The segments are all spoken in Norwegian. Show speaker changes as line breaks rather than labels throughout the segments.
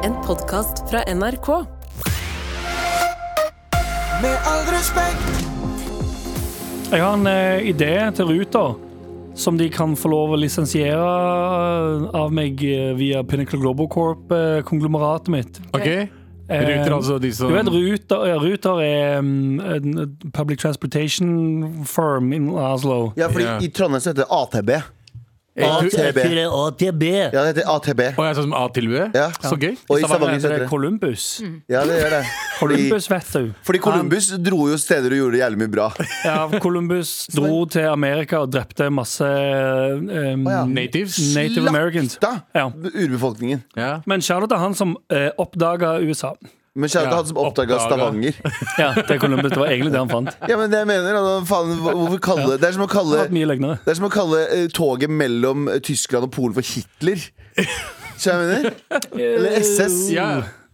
podkast fra NRK.
Med all respekt,
Jeg har en eh, idé til Ruter som de kan få lov å lisensiere eh, av meg eh, via Pinnacle Global Corp-konglomeratet mitt.
Ok, Ruter,
Eh,
altså de som
Du vet, Ruter, ja, Ruter er mm, en en public transportation firm in Oslo.
Ja, fordi
Ja.
i Trondheim så heter det ATB. ATB. Ja, det heter ATB.
Og jeg er sånn som A til B?
Ja.
Så gøy.
Og i Stavanger så
heter
heter
det
det
Columbus.
Ja, det gjør det. Fordi,
Columbus, vet du.
fordi Columbus dro jo steder og gjorde jævlig mye bra.
Ja, Columbus dro til Amerika og drepte masse eh,
ja.
Natives.
Native Americans.
Da,
Ja.
urbefolkningen.
Ja.
Men Charlotte er han som eh, oppdaga USA.
Men kjære til
Ja,
han som oppdaga
oppdaga.
Stavanger.
Ja, det er Columbus. Det var egentlig det han fant.
Ja, men det jeg mener, altså, faen, hva- hvorfor kalle Det er som å
Det
kalle
har vært mye løgnere.
Det er som å kalle eh, toget mellom eh, Tyskland og Polen for Hitler. Så jeg mener? Eller SS.
Ja.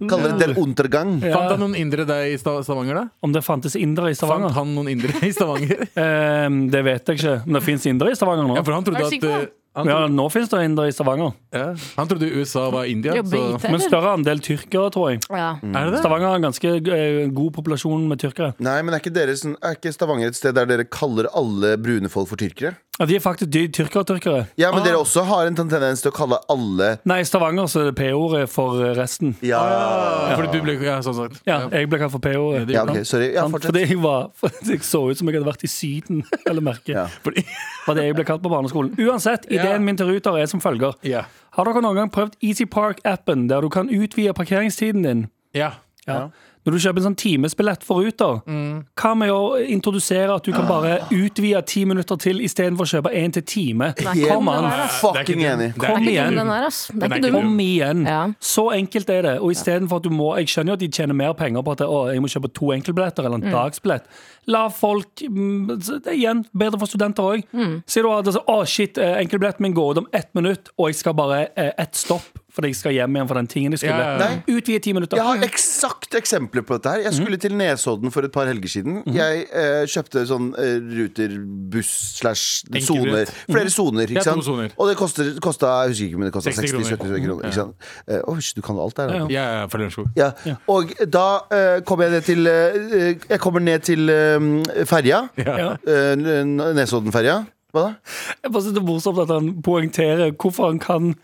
Kaller det Den Untergang.
Fant han noen indre deg i Sta- Stavanger, da?
Om det fantes indere i
Fant
Stavanger?
han noen indre i Stavanger?
Eh, det vet jeg ikke. Men det fins indere i Stavanger nå.
Ja, for han trodde
Er du
at
sikker på
eh,
det?
han
Ja,
trodde,
nå fins det indere i Stavanger.
ja. han trodde USA var India.
Jobber
Så.
i IT,
Men
eller?
større andel tyrkere, tror jeg.
Ja.
Mm. Er det det?
Stavanger har en ganske eh, god populasjon med tyrkere.
Nei, men er ikke, dere, sånn- er ikke Stavanger et sted der dere kaller alle brune folk for tyrkere?
Ja, de er faktisk de er tyrkere-tyrkere.
Ja, men dere også har en tendens til å kalle alle
Nei, i Stavanger så er det P-ordet for eh, resten.
Ja,
Ja, Fordi du ble ja, sånn sagt.
Ja, jeg ble kalt for P-ordet.
ja ok, sorry. Ja,
Sant?
fortsett.
fordi jeg, var, fordi jeg så ut som jeg hadde vært i Syden, eller merket.
Ja.
Fordi,
Var det jeg ble kalt på barneskolen. Uansett, ideen min til Ruter er som følger.
ja.
Har dere noen gang prøvd Easy Park-appen, der du kan utvide parkeringstiden din?
ja. Mm.
Ja. Når du kjøper en sånn timesbillett for Ruter, hva med å introdusere at du
Ah.
kan bare utvide ti minutter til istedenfor å kjøpe én til time?
ikke
Kom an!
dum,
Fucking enig.
Det er
Kom
ikke
igjen.
dum.
Den er, ass. Det
Den
er
er
ikke
ikke
dum.
Om igjen.
Ja.
Så enkelt er det. Og istedenfor at du må Jeg skjønner jo at de tjener mer penger på at å, jeg må kjøpe to enkeltbilletter eller en dagsbillett. La folk mm, så det er Igjen, bedre for studenter òg. Sier du at altså, å shit, eh, enkeltbilletten min går ut om ett minutt, og jeg skal bare eh, ett stopp fordi jeg skal hjem igjen for den tingen jeg skulle.
Ja, ja,
ja.
Utvide ti minutter.
Jeg har eksakt eksempler på dette her. Jeg
Mhm.
skulle til Nesodden for et par helger siden. Jeg eh, kjøpte sånn eh, ruter, buss slash soner.
Enkeltbillett.
Mhm.
Flere soner,
Ja,
ikke
to
sant?
soner.
Og det koster, kosta jeg husker ikke, men det kosta
60 kroner.
60-70 kroner. Ikke sant? Eh, Oi, shit, du kan alt der. da.
Ja,
Ja, ja, fra Lørenskog.
Ja. Og da eh, kommer jeg ned til eh, Jeg kommer ned til eh, ferja.
Ja.
Eh, N- Nesoddenferja. Hva da?
Jeg bare synes det er morsomt at han poengterer hvorfor han kan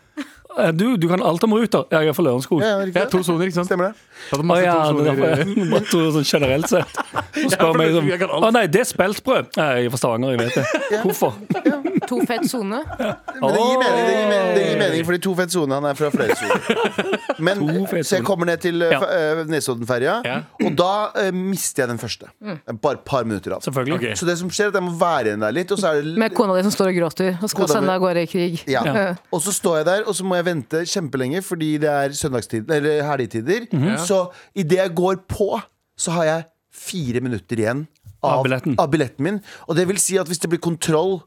Eh, Du, du kan alt om ruter. Ja, jeg er fra Lørenskog.
Ja,
Å
ja, riktig.
Ja, to soner, ikke sant?
Stemmer det?
Hadde masse
ja,
to
det er
soner,
derfor
eh,
jeg bare tror sånn generelt sett. Og
Ja,
spør
for
meg
det-
sånn
jeg kan alt.
Å nei, det er speltbrød! Nei, jeg er fra Stavanger, jeg vet det. Hvorfor?
To fett sone.
Men det gir mening, det gir mening, det gir mening fordi to fett sone, han er fra flere soner. Men, eh,
To fett
så jeg
soner.
kommer ned til eh,
Ja.
fe- eh, Nesoddenferja,
Ja.
og da eh, mister jeg den første.
Mm.
Bare et par minutter av.
Selvfølgelig.
Ok.
Så det som skjer, er at jeg må være igjen der litt, og så er det
Med kona di som står og gråter og skal
Kona mi.
sende av gårde i krig.
ja.
Ja.
Og så står jeg der, og så må jeg vente kjempelenge fordi det er søndagstid, eller helgetider.
Mhm.
Så idet jeg går på, så har jeg fire minutter igjen av,
Av billetten.
av billetten min. Og det vil si at hvis det blir kontroll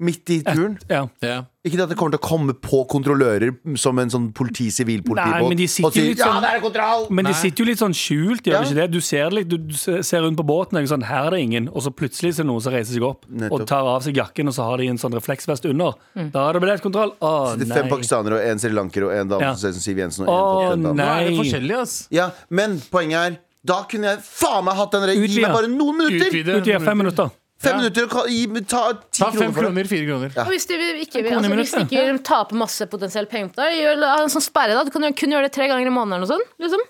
midt i turen
Ja.
Ja.
Ikke det at det kommer til å komme på kontrollører som en sånn politi-sivilpolitibåt.
Nei, men de sitter
og sier,
litt sånn-
Ja, det er kontroll!
Men de
Nei.
sitter jo litt sånn skjult. Gjør
Ja.
de ikke det? Du ser, det litt, du, du se- ser rundt på båten, og sånn, her er det ingen. Og så plutselig ser noen som reiser seg opp og
Nettopp.
tar av seg jakken, og så har de en sånn refleksvest under. Da er det billettkontroll. Å
Det er fem
nei.
pakistanere og en srilanker og en dame
Ja.
som ser ut som Siv Jensen. Og en
Å,
folkelig
Nå
dame.
Nei.
er det forskjellig, ass.
Ja, men poenget er da kunne jeg faen meg hatt den der. Gi
Utvide.
meg bare noen minutter!
Utvide.
Ut i fem minutter.
Fem
Ja.
minutter og ka- gi, ta ti
Ta fem
kroner for det.
kroner, fire kroner.
Og hvis de ikke,
krone i
altså, hvis de
minuttet.
ikke taper masse potensielt penger på det, gjør la en sånn sperre, da. Du kan jo kun gjøre det tre ganger i måneden eller noe sånt. Liksom.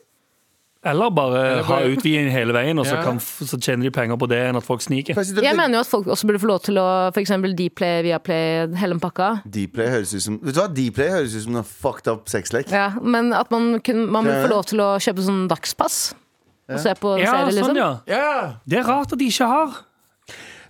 Eller bare ha
bare-
utviding hele veien, og så,
Ja.
kan, f- så tjener de penger på det enn at folk sniker.
Jeg sitter og
Jeg
tenker-
mener jo at folk også burde få lov til å f.eks. Dplay, Viaplay, hele den pakka.
Dplay høres ut som Vet du hva? Dplay høres ut som en fucked up sexlek.
Ja, men at man, kun, man burde
Ja, ja.
få lov til å kjøpe sånn dagspass. Og se på
Ja,
serier,
sånn,
liksom.
ja.
Ja!
Det er rart at de ikke har.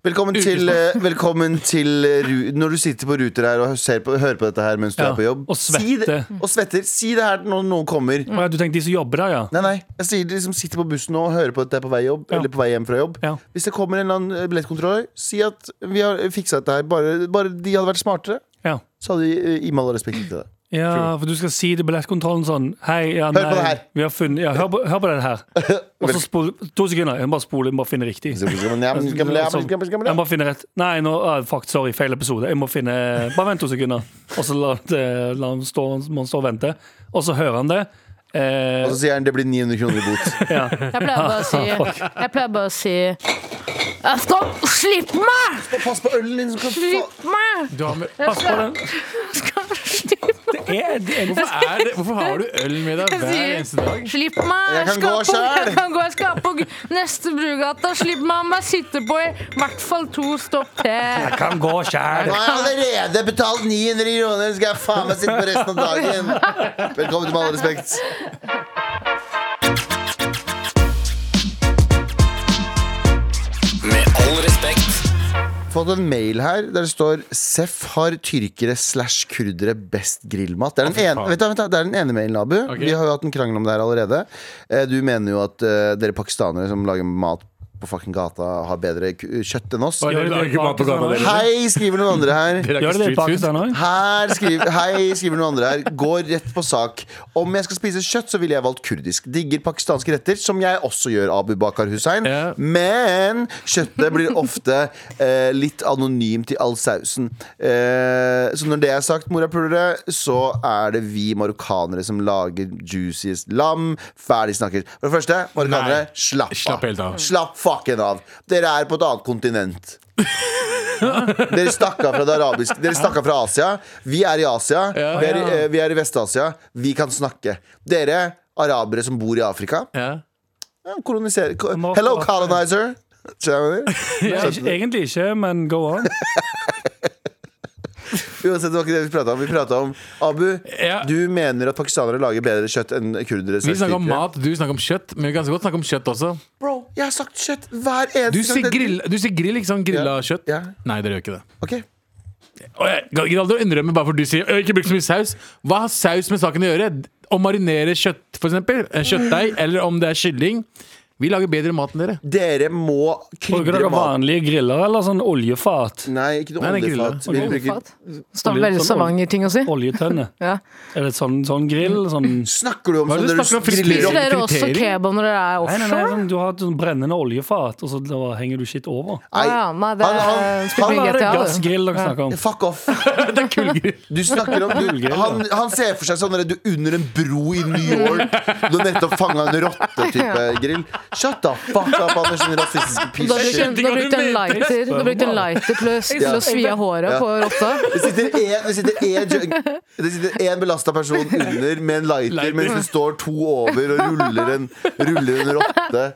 Velkommen
sånn.
til, eh, velkommen til eh, Ru- Når du sitter på ruter her og ser på, hører på dette her mens du
Ja,
er på jobb,
og
si det,
svetter.
og svetter. Si det her når noen kommer.
Å, ja, du tenkte de som jobber der, ja.
Nei, nei, jeg sier de som sitter på bussen nå og hører på dette her på vei, jobb,
Ja.
eller på vei hjem fra jobb.
Ja.
Hvis det kommer en eller annen eh, billettkontrollør, si at vi har fiksa dette her. Bare, bare de hadde vært smartere,
Ja.
så hadde de eh, i med all respekt gitt det.
Ja, for du skal si til billettkontrollen sånn Hei, ja, nei,
Hør på det her.
Vi har funnet, ja, hør, på, hør på den her. Og så spol To sekunder. Jeg må bare spole, jeg må bare finne riktig.
Så- så- men- ja, men- ja, men- ja, men- ja, men- ja, men-
Jeg må finne rett Nei, nå, ah, fuck, sorry, feil episode. Jeg må finne Bare vent to sekunder. Og så la, det- la han stå, må han stå og vente. Og så hører han det. Eh,
Og så sier han det blir 900 kroner i bot.
ja.
Jeg pleier bare å si Jeg pleier bare å si Jeg skal Slipp meg!
Pass på ølen din! Som kan
Slipp meg!
Du har med,
Jeg
Pass på
skal,
den.
skal slipp meg!
Det er, det er,
hvorfor, er det, hvorfor har du øl med deg hver
Jeg
eneste
sier
dag?
slipp meg!
Jeg kan
skal
gå
på-
selv!»
Jeg kan gå, jeg skal på g- neste brugata. Slipp meg om jeg sitter på i hvert fall to stopp til.
kan gå sjæl.
Nå har jeg allerede betalt 900 kroner, skal jeg faen meg sitte på resten av dagen! Velkommen til Med all respekt.
Med all respekt.
Fått en mail her der det står Seff har tyrkere slash kurdere best grillmat. Det er den, ene,
faen.
vent da, vent da, det er den ene mailen, Abu.
Ok.
Vi har jo hatt en krangel om det her allerede. Eh, Du mener jo at eh, dere pakistanere som lager mat på fucking gata, har bedre ku- kjøtt enn oss.
Bare
Gjør det
lager
i
mat på gata
Pakistan,
deres.
Hei, skriver noen andre her.
Dere er
Gjør det litt
ikke street
Pakistan
food.
òg?
Her skriver, hei, skriver noen andre her. Går rett på sak. Om jeg skal spise kjøtt, så ville jeg valgt kurdisk. Digger pakistanske retter, som jeg også gjør, Abu Bakar Hussein.
Ja.
Men kjøttet blir ofte eh, litt anonymt i all sausen. Eh, så når det er sagt, morapulere, så er det vi marokkanere som lager juiciest lam. Ferdig snakket. For det første, marokkanere,
Nei.
slapp av.
Slapp helt av.
Slapp fucken av. Dere er på et annet kontinent. Dere stakk av fra det arabiske Dere stakk av fra Asia. Vi er i Asia. Vi er i, eh, vi er i Vest-Asia. Vi kan snakke. Dere arabere som bor i Afrika
Ja.
ja, koloniserer ko- Hello, colonizer! Skjønner du?
Egentlig ikke, men go on.
Uansett, det var ikke det vi prata om. Vi prata om Abu,
Ja.
du mener at pakistanere lager bedre kjøtt enn kurdere.
Vi snakker om
selvstyrere.
mat, du snakker om kjøtt. Men vi kan så godt snakke om kjøtt også.
Bro, jeg har sagt kjøtt hver eneste
Du sier
det-
grill, du sier grill ikke sant? Grilla
Ja.
kjøtt?
Ja.
Nei, dere gjør ikke det.
Ok.
Og jeg jeg gidder aldri å innrømme bare for du sier «Øy, ikke bruk så mye saus. Hva har saus med saken å gjøre? Å marinere kjøtt, for eksempel. eh, Kjøttdeig, eller om det er kylling. Vi lager bedre mat enn dere.
Dere må
Bruker
krydre
dere
mat.
vanlige griller eller sånn oljefat?
Nei, ikke noe
Nei, det er
oljefat. Vi bruker
Står veldig Stavanger-ting å si.
Oljetønne?
Ja.
Er det sånn, sånn grill? Sånn
Mm.
Snakker du om
Hva er
sånn
det du
der
snakker om?
du griller
Frityr?
Spiser
opp?
dere også
Rekruttering?
kebab når dere er
Nei, nei, nei,
offshore?
sånn, du har et sånn brennende oljefat, og så da henger du shit over.
Nei,
Ja, nei, det
Han- han-
spiller
han-
ingen
Er det
GTA, du.
gassgrill dere snakker om?
fuck off.
Det er kullgrill.
Du snakker om du, han, han ser for seg sånn der du under en bro i New York. Du har nettopp fanga en rotte-type grill. Shut the fuck up, Anders, din rasistiske
Da brukte
pysj.
hun- da brukte hun lighter, da brukte hun lighter til å, til å svi av håret på rotta.
Det sitter en- det sitter en junk- det sitter én belasta person under med en lighter,
Lighter.
mens det står to over og ruller en, ruller en rotte.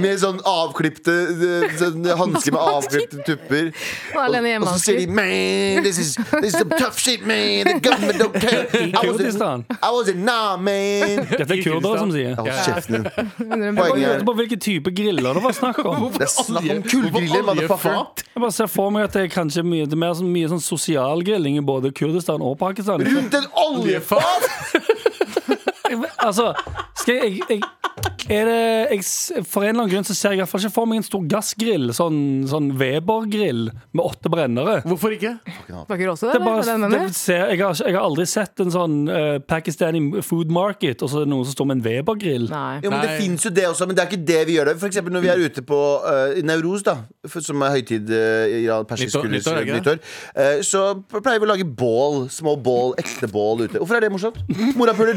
Med sånn avklipte sånn hansker med avklipte tupper.
Og er alene
Og
hjemme.
så sier de Man, this is, this is some tough shit, man. The government don't care. I was in,
Kurdistan.
I was in nah, man.
Dette er kurdere som sier.
Hold kjeften din.
Under en-
Poenget
Jeg
er
lurte på hvilke type griller det var snakk om.
det er snakk om
Olje-
kullgriller,
hvorfor
motherfucker.
oljefat?
Jeg bare ser for meg at det er kanskje mye, det er mer sånn, mye sånn sosial grilling i både Kurdistan og Pakistan.
Rundt en oljefat!
Altså, skal jeg, jeg, jeg er det, jeg, s- For en eller annen grunn så ser jeg i hvert fall ikke for meg en stor gassgrill, sånn, sånn Weber-grill med åtte brennere.
Hvorfor ikke?
Var ikke råse,
Det er
eller?
bare,
Er det den
det
mener?
ser, jeg, har, ikke- jeg har aldri sett en sånn eh, Pakistani food market, og så er det noen som står med en Weber-grill.
Nei.
Jo, men Det
Nei.
fins jo det også, men det er ikke det vi gjør det. For eksempel når vi er ute på uh, Nauroz, da, for, som er høytid eh, i Iran, persisk
Nyttår- nyttår, er det ikke
nyttår, eh, så pleier vi å lage bål. Små bål, ekte bål ute. Hvorfor er det morsomt? Morapuler,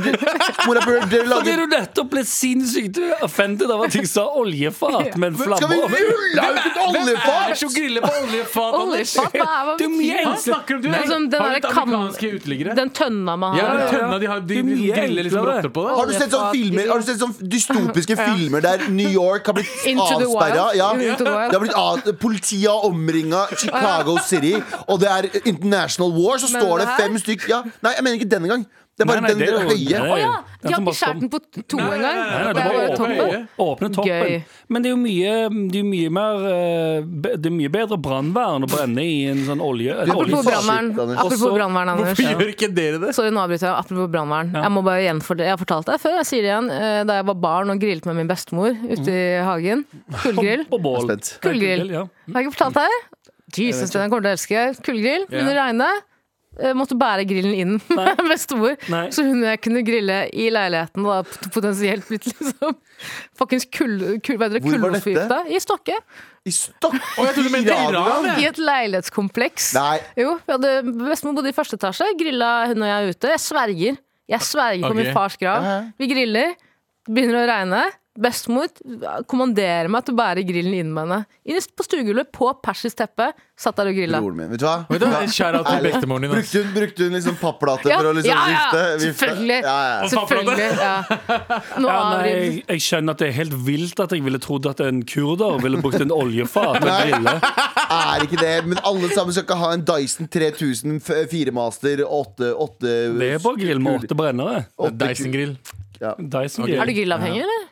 morapuler, dere
Fordi
lager
du nettopp ble sinnssykt offended av at jeg sa oljefat med en
Skal vi
flamme.
rulle ut
Hvem er
et
det
oljefat?!
som griller på oljefat, Anders?
Oljefat, hva er hva
Det er mye
betyr det?
Hva snakker om du?
Nei, som den
har
der
litt
kam-
amerikanske uteliggere.
Den tønna man
Ja,
har.
den
ja.
tønna de har,
Det
de,
er mye
de griller liksom
enklere.
rotter på det.
Har du sett sånne filmer Har du sett sånne dystopiske filmer der New York har blitt
Into the wild.
avsperra? Ja.
Into
Det
the wild.
har blitt av, politiet har omringa Chicago City, og det er international war, så
Men
står det
det her?
fem stykk ja. Nei, jeg mener ikke denne gang. Det er
Nei,
bare
nei, det er
den
jo-
der høye.
nei.
Å ja!
Den
De har
som
ikke
bare
skåret den på t- to
Nei, nei,
engang.
nei, nei,
Nei,
Det
det
er
var
bare
åpen
toppen.
øye.
Åpne toppen.
Gøy.
Men det er jo mye, det er jo mye, mer, eh, be- det er mye bedre brannvern å brenne i en sånn olje. et
Apropos
Shit,
oljefat.
brannvern,
Anders.
apropos
Også-
brannvern, Anders.
Hvorfor gjør ikke dere det?
Sorry, nå avbryter jeg. Apropos brannvern. Jeg må bare gjenfortelle Jeg har fortalt det før, jeg sier det igjen. Eh, Da jeg var barn og grillet med min bestemor ute i hagen. Kullgrill.
På bål.
Spent.
Kullgrill.
Ja.
Har jeg ikke fortalt deg? Jesus, den kommer til å elske. Kullgrill
Ja.
under regnet. Eh, Måtte bære grillen inn med bestemor.
Nei.
Så hun og jeg kunne grille i leiligheten og da pot- potensielt blitt liksom fuckings kull... kull hva heter det?
Hvor var dette?
Kullforgifta i Stokke.
I Stockholm?
jeg trodde du mente Iran, jeg.
I et leilighetskompleks.
Nei.
Jo, vi hadde Bestemor bodde i første etasje. Grilla hun og jeg ute. Jeg sverger. Jeg sverger på
Ok.
min fars grav. Vi griller. Det begynner å regne. Bestemor kommanderer meg til å bære grillen inn med henne. Inn på stuegulvet, på persisk teppe, satt der og grilla.
Broren min. Vet du hva?
Vet du hva? Shout out til
Ærlig.
bektemoren din. ass.
Brukte hun, brukte hun liksom papplate for å liksom
ja, ja,
vifte? vifte?
selvfølgelig.
Ja, ja.
selvfølgelig ja. Nå
Ja, nei,
avriver
jeg, jeg skjønner at det er helt vilt at jeg ville trodd at en kurder ville brukt en oljefat. og grille.
Altså, Er ikke det. Men alle sammen skal ikke ha en Dyson 3000 f- 4 Master 8, 8
Webergrill med åtte brennere.
Dyson-grill.
Dyson-grill.
Er du grillavhengig, eller?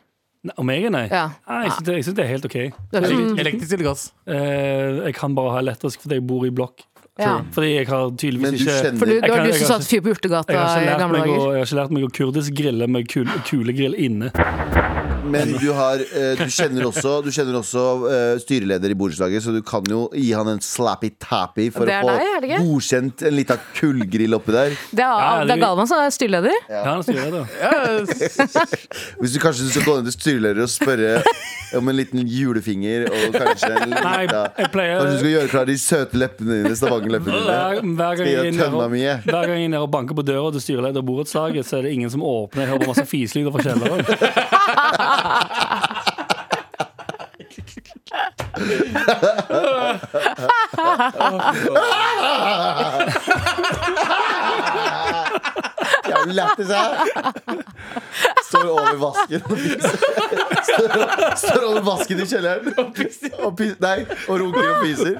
Nei, Om jeg er nei?
Ja.
Nei, jeg syns det, jeg synes det er helt OK.
Du er
Mm.
ikke-
Elektrisk eller gass?
Eh, jeg kan bare ha elektrisk fordi jeg bor i blokk.
Ja.
Fordi jeg har
Men
tydeligvis
du
ikke
kjenner
For du,
Jeg
du har
kan-
lyst til
jeg
å
kan-
satt fyr på urtegata
jeg har,
i
ikke lært
gamle
meg å,
dager?
jeg har ikke lært meg å kurdisk grille med kul, kulegrill inne.
Men du, har, eh, du kjenner også, du kjenner også eh, styreleder i borettslaget, så du kan jo gi han en slappy-tappy for
Det
å
er
få
deg, er det ikke?
godkjent en lita kullgrill oppi der.
Det er,
Ja,
det er
det-
Galvan som er styreleder.
Ja. han styrer det.
Hvis du kanskje du skal gå ned til styreleder og spørre om en liten julefinger og kanskje en
Nei,
lita
jeg pleier
Kanskje du skal gjøre klar de søte leppene dine, Stavanger-leppene
hver, hver
dine.
gang
Skal
jeg
jeg
er
tønne
nede og-
mye?
hver gang jeg er nede og banker på døra til styreleder i borettslaget, så er det ingen som åpner. Jeg hører bare masse fiselyder fra kjelleren.
Jævlig lættis her! Står over vasken og fiser. Står, står over vasken i kjelleren og pis- Nei, og runker og fiser.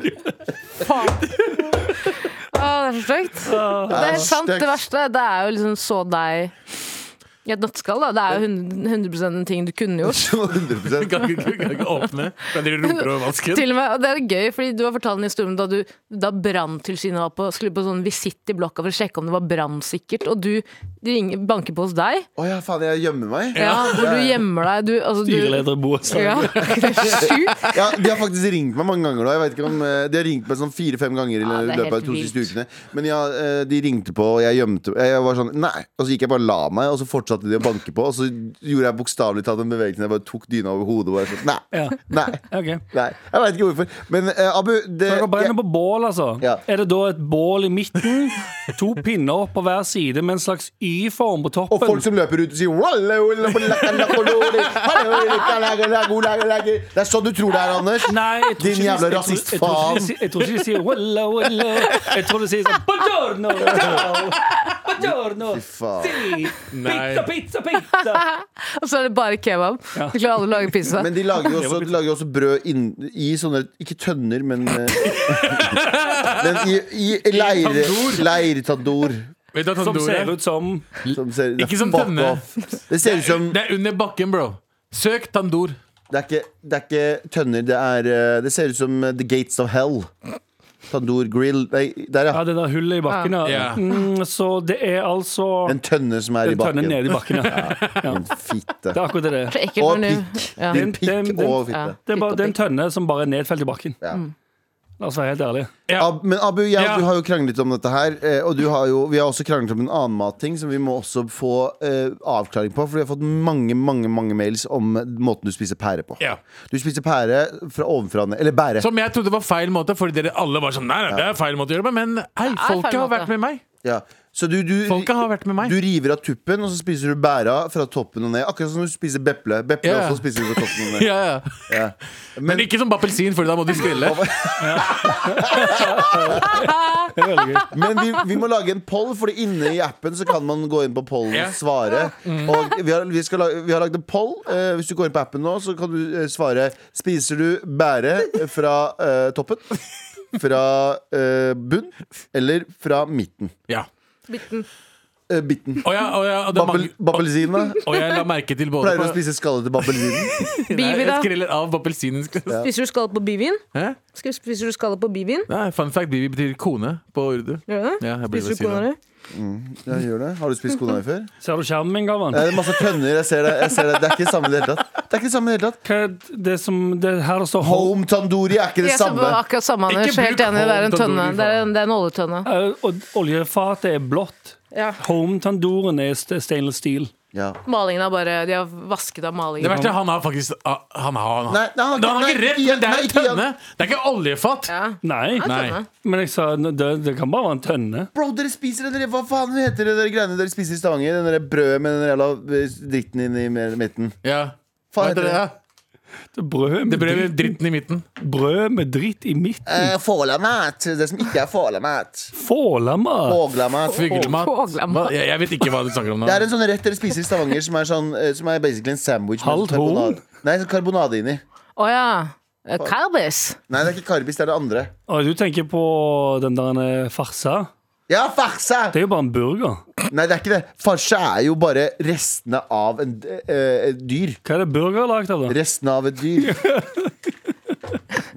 Å, det er så stygt. Det er helt sant.
stygt.
Det verste det er jo liksom så deg i et nøtteskall. da. Det er jo 100, 100 en ting du kunne gjort.
100
Kan ikke, kan ikke åpne. Da dere roper over vasken.
Til og med, og det er gøy, fordi Du har fortalt en historie om da, du- da branntilsynet var på, skulle på sånn visitt i blokka for å sjekke om det var brannsikkert, og du de ringer, banker på hos deg,
Å ja, faen, jeg gjemmer meg.
ja, hvor du gjemmer deg. Du, altså, du,
Styreleder i borettslaget.
ja, det er sjukt.
Ja, de har faktisk ringt meg mange ganger. Da. Jeg vet ikke om, eh, de har ringt meg sånn fire-fem ganger i
Ja, det er
løpet av de
helt
to siste
vilt.
ukene. Men ja, eh, de ringte på, og jeg gjemte Jeg var sånn nei. Og så gikk jeg bare og la meg, og så fortsatte de å banke på. Og så gjorde jeg bokstavelig talt en bevegelse der jeg bare tok dyna over hodet. Og bare sånn, nei,
Ja.
nei,
Ok.
nei. Jeg veit ikke hvorfor. Men eh, Abu, det
Dere brenner
jeg,
på bål, altså.
Ja.
Er det da et bål i midten, to pinner opp på hver side med en slags Y-form på
og folk
toppen?
som løper ut og sier "Walla, walla, walla, walla, walla, walla, walla, walla, walla." Det er sånn du tror det er, Anders.
Nei, jeg tror
Din
ikke de-
jævla
jeg tror- jeg tror ikke de
rasist,
sier- Jeg tror ikke de sier walla, walla. Jeg tror de sier sånn Buongiorno, ciao, buongiorno,
Faen.
si,
Nei.
pizza, pizza, pizza.
Og så er det bare kebab. Du klarer aldri å lage pizza.
Men de lager jo også, de lager jo også brød inn, i sånne Ikke tønner, men eh, Men i, i leir,
tandoor.
leirtandor.
Vet du hva
Som
tandoor
ser
er?
ut som
Som ser,
Ikke som
fuck
tønne.
off. Det ser ut som
Det er under bakken, bro. Søk tandoor.
Det er ikke, det er ikke tønner, det er eh, Det ser ut som eh, The Gates of Hell. Tandoor grill Nei, der,
Ja,
ja.
det der hullet i bakken, ja.
Ja.
Mm, så det er altså
En tønne som er i
Den tønner
bakken.
nede i bakken, ja.
Din fitte.
Det er akkurat det.
Så ekkelt
Og
når du-
pikk.
Ja.
Din
Den-
pikk
den-
og
Ja.
fitte.
Det er bare det er en tønne som bare er nedfelt i bakken.
Ja.
La oss være helt ærlige.
Ab men Abu, jeg og
Ja.
du har jo kranglet om dette her. eh, Og du har jo, vi har også kranglet om en annen matting som vi må også få eh, avklaring på. For vi har fått mange mange, mange mails om måten du spiser pære på.
Ja.
Du spiser pære fra ovenfra og ned. Eller bære.
Som jeg trodde var feil måte, fordi dere alle var sånn Nei, nei, det er feil måte å gjøre det på. Men hei,
feil
folket har
måte.
vært med meg.
Ja. Så du, du,
Folket har vært med meg.
du river av tuppen, og så spiser du bæra fra toppen og ned. Akkurat som du spiser beple. Beple
Ja.
også spiser du fra toppen og ned.
Ja, ja.
Ja.
Men ikke som appelsin, for da må du skrelle.
Det er veldig gøy.
Men vi, vi må lage en poll, Fordi inne i appen så kan man gå inn på pollen
Ja.
og svare. Og vi har, vi, skal lage, vi har lagd en poll. Eh, hvis du går inn på appen nå, så kan du eh, svare Spiser du bære fra eh, toppen? Fra eh, bunn? Eller fra midten?
Ja.
Eh, bitten.
Og jeg, og jeg, og det er
Babbel,
mange,
babbelsina.
og jeg la merke til både
Pleier å spise skallet til babbelsinen.
Bivi,
Jeg
da?
skreller av appelsinen.
Spiser du skallet på bivien?
Hæ?
Skal- Spiser du skallet på bivien?
Nei, fun fact, Bibi betyr kone på urdu.
Gjør du det?
Ja, jeg burde
Spiser du
si det.
kona di?
Ja, gjør det. Har du spist kona di før?
Ser du skjermen min, Gavan?
Nei, det er masse tønner. Jeg ser det. Jeg ser det. det er ikke det samme i det hele tatt. Det er ikke det samme i det hele tatt.
Hva er det som det her det står home?
Home tandoori er ikke det
Jeg sa
samme.
bare akkurat samme,
Ikke
Anders. Helt
bruk
enig. Det er en
håndtandoori,
tønne. Det er en, det er en oljetønne.
Eh, Og oljefatet er blått.
Ja.
Home-tandoren er st- stainless steel.
Ja.
Malingen er bare De har vasket av
Det
malingen.
verste er han har faktisk ah, Han har, han har.
Nei, nei, han har
Da, han har
ikke-
ikke rett,
nei,
men det
nei,
er en
ikke igjen.
tønne! Det er ikke oljefat!
Ja.
Nei,
Nei.
tønne.
men jeg sa det, det kan bare være en tønne.
Bro, dere spiser dere, Hva faen heter det dere greiene dere spiser i Stavanger? Den der brødet med den jævla eh, dritten inni med- midten.
Ja.
Faen
Hva heter det?
heter
Det er brød med,
Det ble
dritt,
dritten i midten.
brød med dritt i midten.
Eh, Fålamat. Det som ikke er fålamat.
Fålamat.
Fåglamat.
Fuglemat.
Fuglemat.
Hva- Jeg, jeg vet ikke hva du snakker om nå.
Det er en sånn rett dere spiser i Stavanger som er, sånn, eh, som er basically en sandwich med
Halvt
karbonade.
horn?
Nei, sånn karbonade inni.
Å ja. Eh, Kalbis.
Nei, det er ikke karbis, det er det andre.
Og du tenker på den der eh, farsa.
Ja, farsa!
Det er jo bare en burger.
Nei, det er ikke det. Farsa er jo bare restene av en, eh, et dyr.
Hva er det burger er lagd av, da?
Restene av et dyr.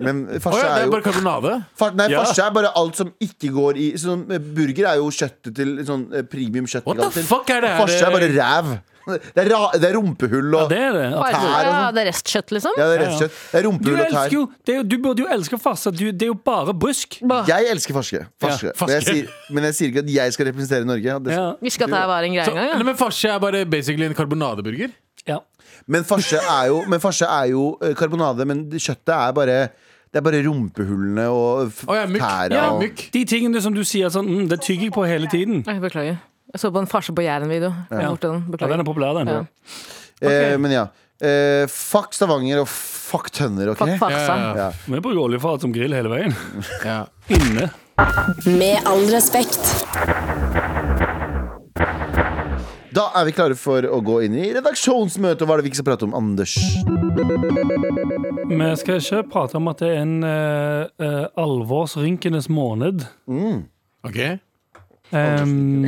Men
Å
farsa
ja, det
er
er
jo
bare karbonade?
Far, nei,
Ja.
farse er bare alt som ikke går i sånn, eh, Burger er jo kjøttet til sånn eh, premium kjøtt.
What the fuck er det her?
Farse er bare ræv. Det er, ra, det er rumpehull
Ja,
og
det er det.
Hva er det?
Tær og
Ja,
sånn.
det er restkjøtt, liksom?
Ja, det er rett
Ja, ja.
kjøtt. Det er
Du,
rumpehull og
elsker
tær.
jo, det er jo, du burde jo elske farsa. Du, det er jo bare brusk.
Bah.
Jeg elsker farske. farske.
farske.
Men, jeg sier, men jeg sier ikke at jeg skal representere Norge. Det,
Ja,
Visste ikke at det her var en greie
Så,
engang.
nei,
ja.
men farse er bare basically en karbonadeburger?
ja.
Men farse er jo, men farse er jo eh, karbonade, men kjøttet er bare det er bare rumpehullene og f-
Å ja, mykk.
tæra.
Ja,
og-
mykk.
De tingene som du sier sånn mm, Det tygger jeg på hele tiden.
Nei, Beklager. Jeg så på en farse på Jæren-video.
Ja. Ja, den er
Beklager.
populær, den.
Ja.
Eh, men ja. Eh, fuck Stavanger og fuck tønner, OK?
Fuck farsa.
Ja, ja,
Vi bruker oljefat som grill hele veien.
ja.
Inne.
Med all respekt.
Da er vi klare for å gå inn i redaksjonsmøte. Hva er det vi ikke skal prate om, Anders?
Vi skal ikke prate om at det er en eh, eh, alvorsrynkenes måned.
Ok.
Em,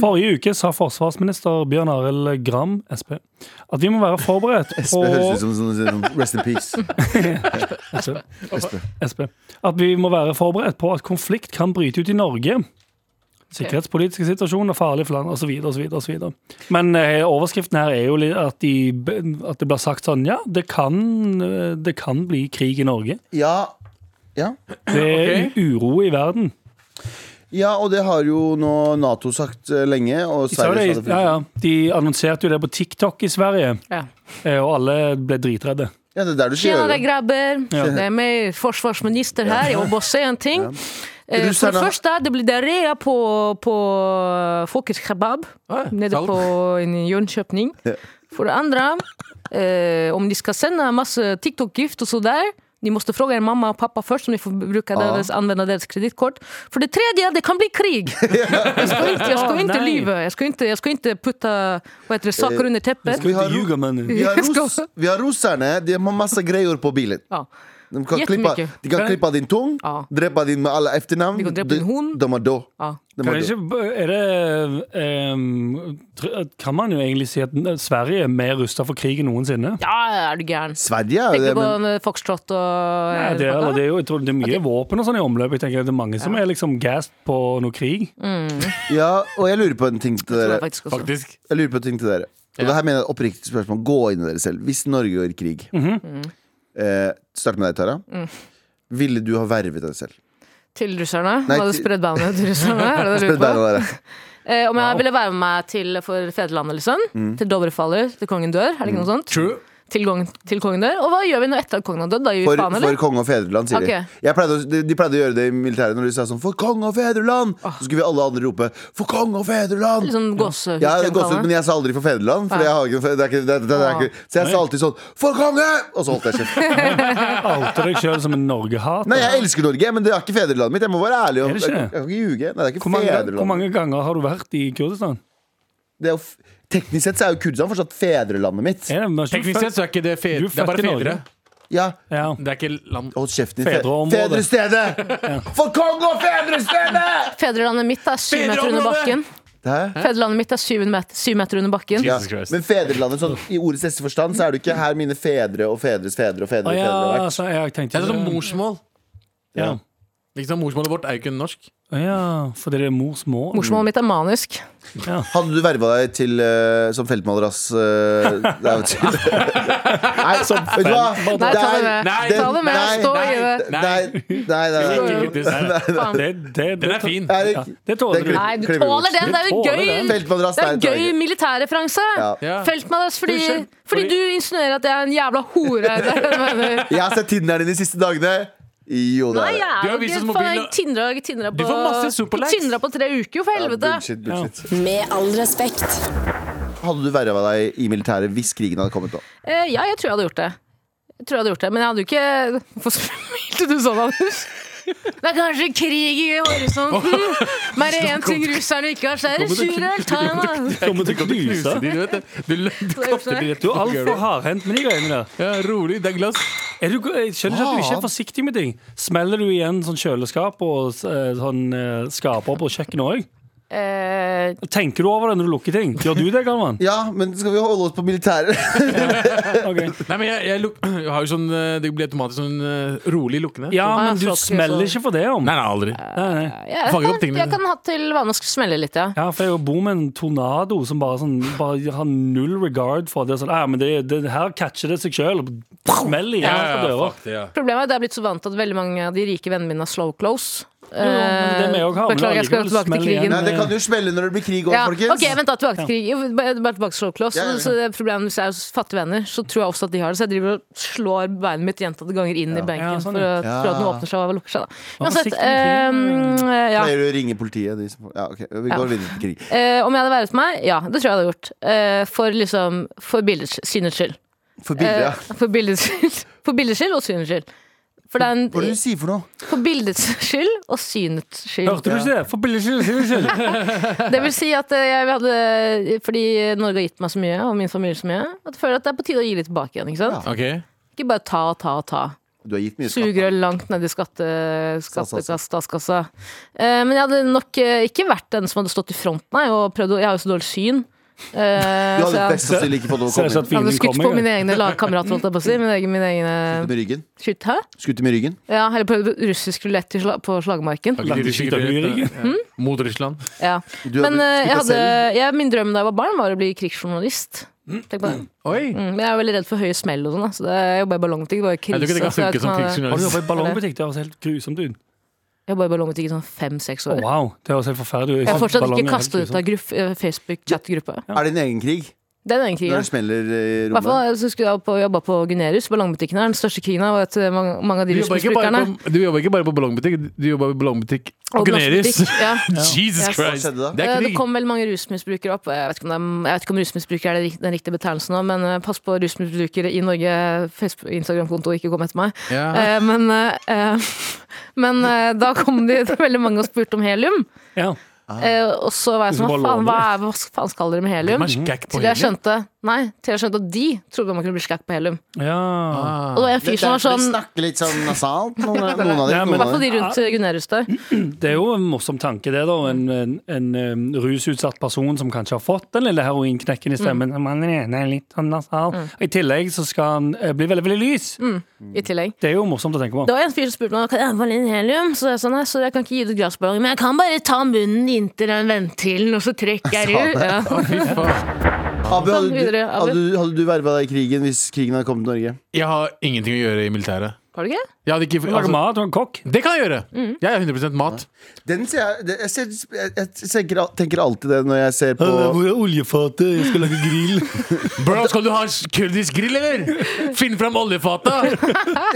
forrige uke sa forsvarsminister Bjørn Arild Gram SP, at vi må være forberedt
SP
på
høres ut som sånn, sånn Rest in peace.
SP, at vi må være forberedt på at konflikt kan bryte ut i Norge. Sikkerhetspolitiske situasjoner, farlig for land osv. osv. Men eh, overskriften her er jo li- at, de, b- at det blir sagt sånn Ja, det kan, eh, det kan bli krig i Norge.
Ja. Ja.
Det er
Ok.
uro i verden.
ja, og det har jo nå Nato sagt eh, lenge. Og
De, sa
Sverige
det,
sa
i-
det for
ja, ja, de annonserte jo det på TikTok i Sverige,
Ja.
eh, og alle ble dritredde.
Ja, det er der du skal
Tjena
gjøre
deg,
det. grabber!
Ja.
Det er meg, forsvarsminister her. Jeg må bare si en ting. Eh, For
Russerne-
det første, det blir diaré på, på Folkets kebab
Ah,
nede
salt.
på en Jönköping. For det andre, eh, om de skal sende masse eh, TikTok-gift og så der de måste fråga er mamma og pappa først om de får bruka deres, använda deras kreditkort. For det tredje, det kan bli krig! Jeg skal ikke, jeg
Ah,
skal
Å,
ikke
nei.
lyve. Jeg skal ikke, jeg skal ikke putte hva heter det, saker under teppet.
Eh, Vi har, ro- vi har,
Jeg skal-
ros, vi har russerne. De har masse greier på bilen.
Ja.
De kan klippe,
Jättemycket.
de kan klippe av din tung,
Ja.
drepe din med alle etternavn.
De kan drepe din hund.
De er da.
Ja.
De
Kan,
er da.
ikke, er det, em, tr- kan man jo egentlig si at Sverige er mer rusta for krig enn noensinne?
ja, er du gæren.
Sverige er jo
Tenker
det,
du på
men
en foxtrot og
Nei, det, er- eller, det er jo jeg tror Eh, det er mye våpen og sånn i omløp. Jeg tenker at Det er mange som er liksom gassed på noe krig.
ja, Og jeg lurer på en ting til
tror
dere.
jeg faktisk også.
Faktisk.
Jeg lurer på en ting til dere. Og det her mener jeg et oppriktig spørsmål. Gå inn i dere selv. Hvis Norge går i krig
Mhm.
Mm.
eh, Start med deg, Tara. Ville du ha vervet deg selv?
Til russerne?
Nei,
Hadde
til-
spredd beinet til russerne? Er det det du
Spør
lurer på?
beina dere.
Eh, om jeg ville være med meg til for fedrelandet, liksom?
Mm.
Til Dovrefaller, til kongen dør? Er det ikke noe sånt?
True.
Til, gong- til kongen dør? Og hva gjør vi nå etter at kongen har dødd? Da gir vi
For,
faen,
for
eller?
konge og fedreland, sier
Ok.
de. Jeg pleide, å- de. De pleide å gjøre det i militæret når de sa sånn 'For konge og fedreland!' Så skulle vi alle andre rope 'For konge og fedreland!'
Litt sånn gåsehud.
Ja, det går ut, men jeg sa aldri 'for fedreland', for jeg har ikke, det er ikke, det, det, det er
Ah.
ikke Så jeg sa alltid sånn 'For konge!' Og så holdt jeg kjeft.
Oute deg sjøl som en
Nei,
Norge-hater.
jeg elsker Norge, men det er ikke fedrelandet mitt. Jeg må være ærlig. Om,
Er det ikke
jeg,
det?
jeg kan ikke ljuge. Nei, det er ikke
Hvor, mange- hvor
fedrelandet.
mange ganger har du vært i Kurdistan?
Det er jo, f- teknisk sett så er jo Kurdistan fortsatt fedrelandet mitt.
Er det, men du
Teknisk
født-
sett så er ikke det fedre.
Du er
Det er bare
født i Norge.
fedre.
Ja,
ja.
Det er ikke land.
Hold kjeften din.
Fedreområdet.
Fedrestedet! For konge og fedrestedet!
Fedrelandet mitt er syv meter under
Fedreområdet!
bakken.
Hæ?
Fedrelandet mitt er syv meter, syv meter under bakken.
Ja.
Jesus Christ.
Men fedrelandet, sånn, i ordets beste forstand, så er det ikke her mine fedre og fedres fedre og fedre
Å,
og fedre har
ja,
vært.
så jeg tenkte
Det er sånn morsmål.
ja.
Liksom Morsmålet vårt er jo ikke norsk.
Å, Ja, fordi det er mors mål.
Morsmålet mitt er manisk.
Hadde du verva deg til, eh, som feltmalerass eh, der, vet du. Nei, vet du hva?
Nei, ta det med.
Nei,
ta det med.
nei,
Stå i det.
Nei, nei, nei.
Ikke
nei.
kritisk.
Faen.
Det, det, det,
Den er fin.
Erik,
Ja, det tåler
den
du.
Nei, du
klipper vi
tåler
bort.
den. Det er jo
Du tåler
gøy.
den.
Feltmadrass,
Det er en
nei,
gøy militærreferanse.
Ja.
Ja.
Feltmadrass, fordi,
Du skjøn-
fordi
fordi-
du insinuerer at jeg er en jævla hore. Det er det jeg mener.
Jeg har sett Tinderen din de siste dagene. Jo, det
Nei,
er det.
jeg er
Du har
jo
vist
ikke
oss
faen,
mobilen.
jeg tindra, jeg tindra på,
Du får masse superlikes.
tindra på tre uker, jo, for
Ja,
helvete.
bullshit, bullshit.
Med all respekt.
Hadde du verva deg i militæret hvis krigen hadde kommet nå?
Eh, ja, jeg tror jeg hadde gjort det. Jeg tror jeg hadde gjort det, Men jeg hadde jo ikke Hvorfor smilte du sånn, Anders? Det er kanskje krig i horisonten. Men er det én ting russerne ikke har, så er det sure altaner.
Kommer til å knuse.
Knuse de, du vet det. Du lønner
Du er altfor hardhendt med de greiene der.
Ja, rolig, det er glass.
Er du, jeg skjønner ikke at du ikke er forsiktig med ting. Smeller du igjen sånn kjøleskap og eh, sånn eh, skaper på kjøkkenet òg?
Eh,
Tenker du over det når du lukker ting? Gjør du det, Galvan?
Ja, men skal vi holde oss på militæret?
Ok.
Nei, men jeg, jeg, luk, jeg har jo sånn eh, Det blir automatisk sånn eh, rolig lukkende.
Ja,
Ah,
men du
flott,
smeller
så-
ikke for det om.
Nei, nei, aldri.
Nei, nei.
jeg,
Fanger opp
kan,
tingene dine.
jeg kan ha til vane å smelle litt, ja.
Ja, for jeg bor med en tornado som bare, sånn, bare har null regard for det. Sånn, ah, men det, det her catcher det seg sjøl. Smell igjen på døra.
fuck det, ja.
Problemet er at jeg er blitt så vant til at veldig mange av de rike vennene mine har slow close.
Jo, men det er
Eh,
det vi også har, men
Beklager, jeg skal
allikevel
tilbake til
smeller igjen.
krigen.
Nei, det kan jo smelle når det blir krig òg,
Ja.
folkens.
Ok, vent da, tilbake til krig. Jo, Bare bare tilbake til slow close.
Ja, ja, ja.
Så det er problemet Hvis jeg er hos fattige venner, så tror jeg også at de har det. Så jeg driver og slår beinet mitt gjentatte ganger inn i benken
Ja, sånn,
for å
ja.
tro at den
Ja.
åpner seg og lukker seg. da
Vær
Uansett,
forsiktig med
ehm, ja.
Pleier du å ringe politiet? De som, ja, ok, Vi går
Ja.
videre til krig.
Eh, om jeg hadde vært meg? Ja, det tror jeg jeg hadde gjort. Eh, for liksom, for bildets synets skyld.
For bildet, ja.
Eh, for bildets skyld. For bildets skyld og synets skyld. For, det er
Hva er det
en,
du sier for noe?
for bildets skyld og synets skyld.
Hørte du ikke det? For billig skyld, skyld, skyld.
Det vil si at eh, jeg hadde Fordi Norge har gitt meg så mye, og min familie så mye, at jeg føler at det er på tide å gi litt tilbake igjen. Ikke sant?
Ok.
Ikke bare ta og ta og ta.
Du har gitt mye skatt.
Sugerør langt ned i skatte, skattekassa, statskassa. Eh, men jeg hadde nok eh, ikke vært den som hadde stått i front, nei. Og prøvd å, jeg har jo så dårlig syn. Eh,
Du
så
hadde
jeg,
best sannsynlig ikke fått lov å
Ser ut
komme
som at
inn.
jeg hadde
fienden
skutt på
kommer.
mine egne lagkamerater, holdt jeg på å si. Mine egne, mine egne
Skutt Med ryggen.
Skyt, eh, hæ?
Skutt med ryggen.
Ja, eller prøvd russisk rulett på slagmarken.
Har ikke de
Landeskytter
riktige
du i ryggen?
rett, eh,
Mm.
Mot Russland.
Ja.
Du
Men
skutt
eh, jeg
deg
hadde,
selv.
jeg, min drøm da jeg var barn, var å bli krigsjournalist. Tenk på det.
Oi!
Mm, men jeg er veldig redd for høye smell og sånn. da, Så det jeg jobba i ballongbutikk. Det var jo
Jeg
krise.
tror ikke det kan
så jeg
funke som
kan-
Har du
krigsjournalist.
jobbet i ballongbutikk? Det høres helt grusomt ut.
Jeg jobba i ballongbutikk i sånn fem-seks
Å,
år.
wow, det høres helt forferdelig ut.
Jeg har fortsatt ikke
Ballonger er helt
kasta ut av
grusomt.
gruff- eh, Facebook-chat-gruppa.
Er det din egen krig?
Det er den
Når
ene krigen.
det smeller eh, i
I hvert
rommet?
fall så skulle jeg opp og jobba på Gunerius, ballongbutikken her. Den største krigen her var at eh, mange, mange av de
Du jobber ikke bare
rusmisbrukerne
på, du jobber ikke bare på ballongbutikk, du jobber i ballongbutikk
og
Gunerius.
glassbutikk, Ja.
Jesus
Yes.
Hva
Christ!
skjedde da?
Det
Eh,
er
Det
krig.
kom veldig mange rusmisbrukere opp. og Jeg vet ikke om, det er- jeg vet ikke om rusmisbrukere er det rik- den riktige betegnelsen nå, men eh, pass på rusmisbrukere i Norge. Facebook- Instagram-konto, ikke kom etter meg.
Ja.
Eh, Men, eh, eh, men eh, da kom de veldig mange og spurte om helium.
Ja.
Eh, Og så var jeg
Som
sånn, hva
balloner.
faen, hva, er, hva faen skal dere med helium?
Man skakk på
Til jeg
helium.
skjønte Nei, til jeg skjønte at de trodde man kunne bli skakk på helium.
ja.
Og det var en fyr som var sånn I
snakker litt sånn nasalt, noen, noen av
Ja,
dem.
men-
Noen
hvert
av
fall
dem.
de rundt eh, Gunerius der.
Det er jo en morsom tanke, det, da. En, en, en, eh, rusutsatt person som kanskje har fått den lille heroinknekken i stemmen.
Mm.
Men han ene er litt sånn nasal. I tillegg så skal han eh, bli veldig, veldig lys.
I tillegg.
Det er jo morsomt å tenke på.
Det var en fyr som spurte meg Kan jeg få litt helium. Så jeg sa nei, så jeg kan ikke gi deg glassballong, men jeg kan bare ta munnen inntil den ventilen, og så trekker jeg ut. Ja.
Fy faen.
Abu, hadde,
Sånn,
du,
videre, Abu.
hadde, du- hadde du verva deg i krigen hvis krigen hadde kommet til Norge?
Jeg har ingenting å gjøre i militæret.
Har du Mm. ikke?
Jeg hadde ikke,
Lage
altså,
mat og en kokk.
det kan jeg gjøre! Jeg er 100 mat.
Den ser jeg det- Jeg, ser, jeg, jeg tenker, al- tenker alltid det når jeg ser på
er oljefatet? Jeg skal lage grill.
Bro, skal du ha en s- kurdisk grill, eller? Finn fram oljefatet!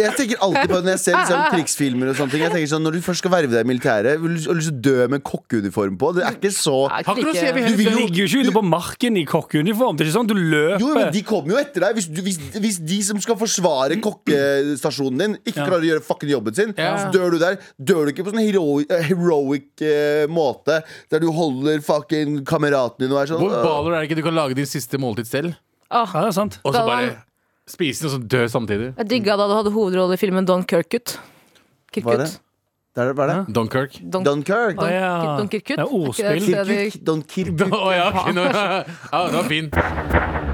Jeg tenker alltid på det når jeg ser liksom, krigsfilmer og sånne ting. Jeg tenker sånn, Når du først skal verve deg i militæret, vil du har du lyst til å dø med kokkeuniform på. Det er ikke så
Jeg
Har ikke noe å si, jeg vil
Du
heller
ligger jo ikke ute på marken i kokkeuniform. Det er ikke sånn at du løper.
Jo, men de kommer jo etter deg. Hvis, du, hvis, hvis de som skal forsvare kokkestasjonen din, ikke klarer å gjøre fucking jobben sin,
Ja.
så dør du der. Dør du ikke på sånn hero, eh, heroic eh, måte, der du holder fucking kameraten din og er sånn
Hvor baller er det ikke du kan lage din siste måltid selv,
Åh,
Ja, det er sant.
og så
Galvan.
bare spise den, og så dø samtidig?
jeg digga da du hadde hovedrolle i filmen Don
Hva
Kirkut.
er det?
Kirkut.
Der, hva er det?
Dunkirk.
Don,
Dunkirk.
Å, ja.
Don Kirkut?
Det er ordspill.
Er ikke det
Kirkuk. Dunkirk.
Å ja, ok, nå, ja, det var fint.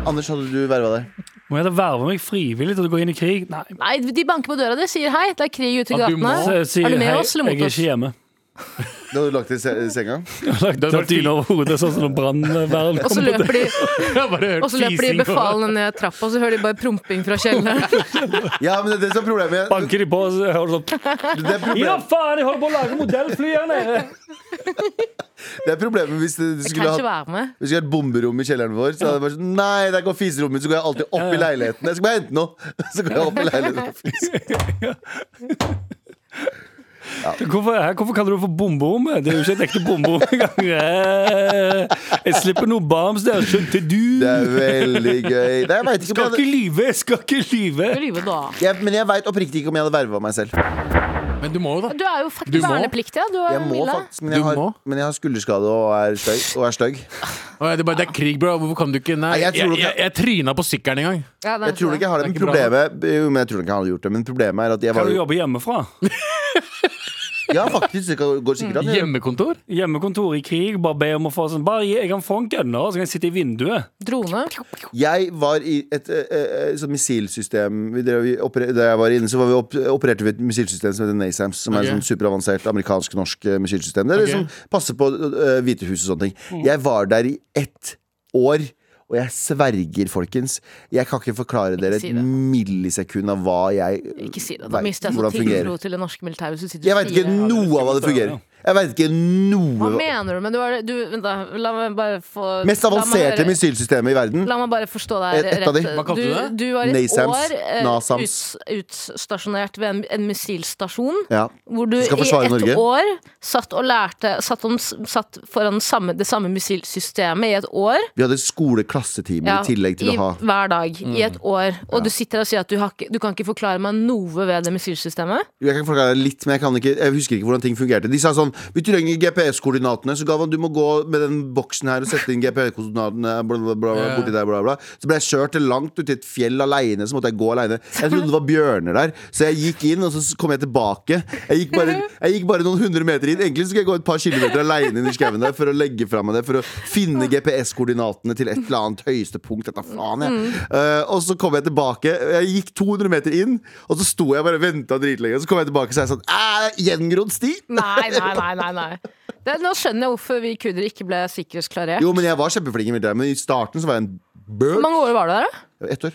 Anders, hadde du verva deg?
Må jeg da verve meg frivillig til å gå inn i krig? Nei.
Nei, de banker på døra di, sier hei, det er krig ute i
At du
gatene.
må-
Så jeg sier,
er du med
hei,
oss eller mot
Jeg er
oss?
ikke hjemme.
Det har du lagt i se- senga?
Lagt
var ti.
tøtten over hodet, sånn som brannvern
Og
kommer
så
til.
løper de,
Jeg bare hørt
og så løper de
fising og-
befalende ned trappa, og så hører de bare promping fra kjelleren.
Ja, men det er det som er problemet.
Banker de på, og så hører du sånn
Det er
Ja,
problemet,
faen, jeg holder på å lage modellfly her nede!
det er problemet hvis det- du
Jeg
skulle
kan ikke
hatt
være med.
hvis vi skulle hatt bomberom i kjelleren vår, så hadde det vært sånn Nei, der går fiserommet mitt, så går jeg alltid opp i leiligheten. Jeg skal bare hente noe. Så går jeg opp i leiligheten og fiser.
Hvorfor, her, hvorfor kaller du det for bomberom? Det er jo ikke et ekte bomberom engang. Eh, Jeg slipper noe bams der, skjønte du?
Det er veldig gøy. Nei, jeg vet ikke om jeg
Skal ikke
hadde
lyve, skal ikke lyve.
Lyve, da.
jeg, Men jeg veit oppriktig ikke om jeg hadde verva meg selv.
Men du må jo, da.
Du er jo
Du
faktisk
må.
vernepliktig. ja. Du er
Jeg må
Milla.
faktisk, men jeg
Du
har,
må?
men jeg har skulderskade og er stygg. Og er stygg.
Å, ja, det, er bare, det er krig, bro. Hvorfor kan du ikke Nei,
Nei, jeg
jeg,
tror
jeg,
nok-
jeg, tryna på sykkelen en gang.
Ja, det er
Jeg tror
sant.
nok jeg har det,
Det
men
er ikke bra,
problemet jo, men jeg tror nok jeg hadde gjort det. Men problemet er at jeg
Kan
var
du
jo
jobbe hjemmefra?
Ja, faktisk. Det kan- går
Mm.
sikkert an. jeg gjør det.
Hjemmekontor?
Hjemmekontor i krig, bare be om å få sånn Bare gi, jeg kan få en gunner, så kan jeg sitte i vinduet.
Drone.
Jeg var i et eh, eh, sånn missilsystem vi drev- vi operer- Da jeg var inne, så var vi opp, opererte vi et missilsystem som heter NASAMS. Som
Ok.
er et sånn superavansert amerikansk-norsk eh, missilsystem. Det er
Ok.
liksom passer på uh, Hvitehuset og sånne ting.
Mm.
Jeg var der i ett år. Og jeg sverger, folkens, jeg kan ikke forklare dere
si
et
det.
millisekund av hva jeg
Ikke si det. Da
Nei,
mister jeg så
hvordan fungerer
tiltro til det norske militæret. hvis du sitter
Jeg
og
veit ikke
sier det.
noe av hva det fungerer. Jeg vet ikke
Hva
noe
mener du? Men du er, du, vent da, la meg bare få
Mest
la meg
avanserte
høre-
missilsystemet i verden.
La meg bare forstå
Et-
deg
et av de.
Hva kalte du det?
Du, du var i et
NASAMS,
år eh,
NASAMS.
uts- utstasjonert ved en, en missilstasjon.
Ja.
Hvor du i
Skal forsvare
ett
Norge.
år satt og lærte Satt, om, satt foran samme, det samme missilsystemet i et år.
Vi hadde skoleklassetime
Ja,
i tillegg til å
i,
ha Mm.
Hver dag, i et år. Og du sitter og sier at du, har, ikke- du kan ikke forklare meg noe ved det missilsystemet.
Jo, Jeg kan forklare litt, men jeg, kan ikke, jeg husker ikke hvordan ting fungerte. De sa sånn Vi trenger GPS-koordinatene, så Gavan, du må gå med den boksen her og sette inn GPS-koordinatene bla, bla, bla,
Ja.
borti der, bla, bla. Så ble jeg kjørt til langt uti et fjell aleine, så måtte jeg gå aleine. Jeg trodde det var bjørner der, så jeg gikk inn, og så kom jeg tilbake. Jeg gikk bare, jeg gikk bare noen hundre meter inn. Egentlig skulle jeg gå et par kilometer aleine inn i skauen der for å legge fra meg det, for å finne GPS-koordinatene til et eller annet høyeste punkt. Dette faen, jeg. Eh, og så kom jeg tilbake. Jeg gikk 200 meter inn, og så sto jeg bare og venta dritlenge. Og så kom jeg tilbake og sa jeg sånn Æh, gjengrodd sti!
Nei, nei, nei. nei, nei. Det, nå skjønner jeg hvorfor vi kurdere ikke ble sikkerhetsklarert.
Jo, men jeg var kjempeflink i militæret, men i starten så var jeg en
Hvor
bøl.
mange år var du der, da?
Ett år.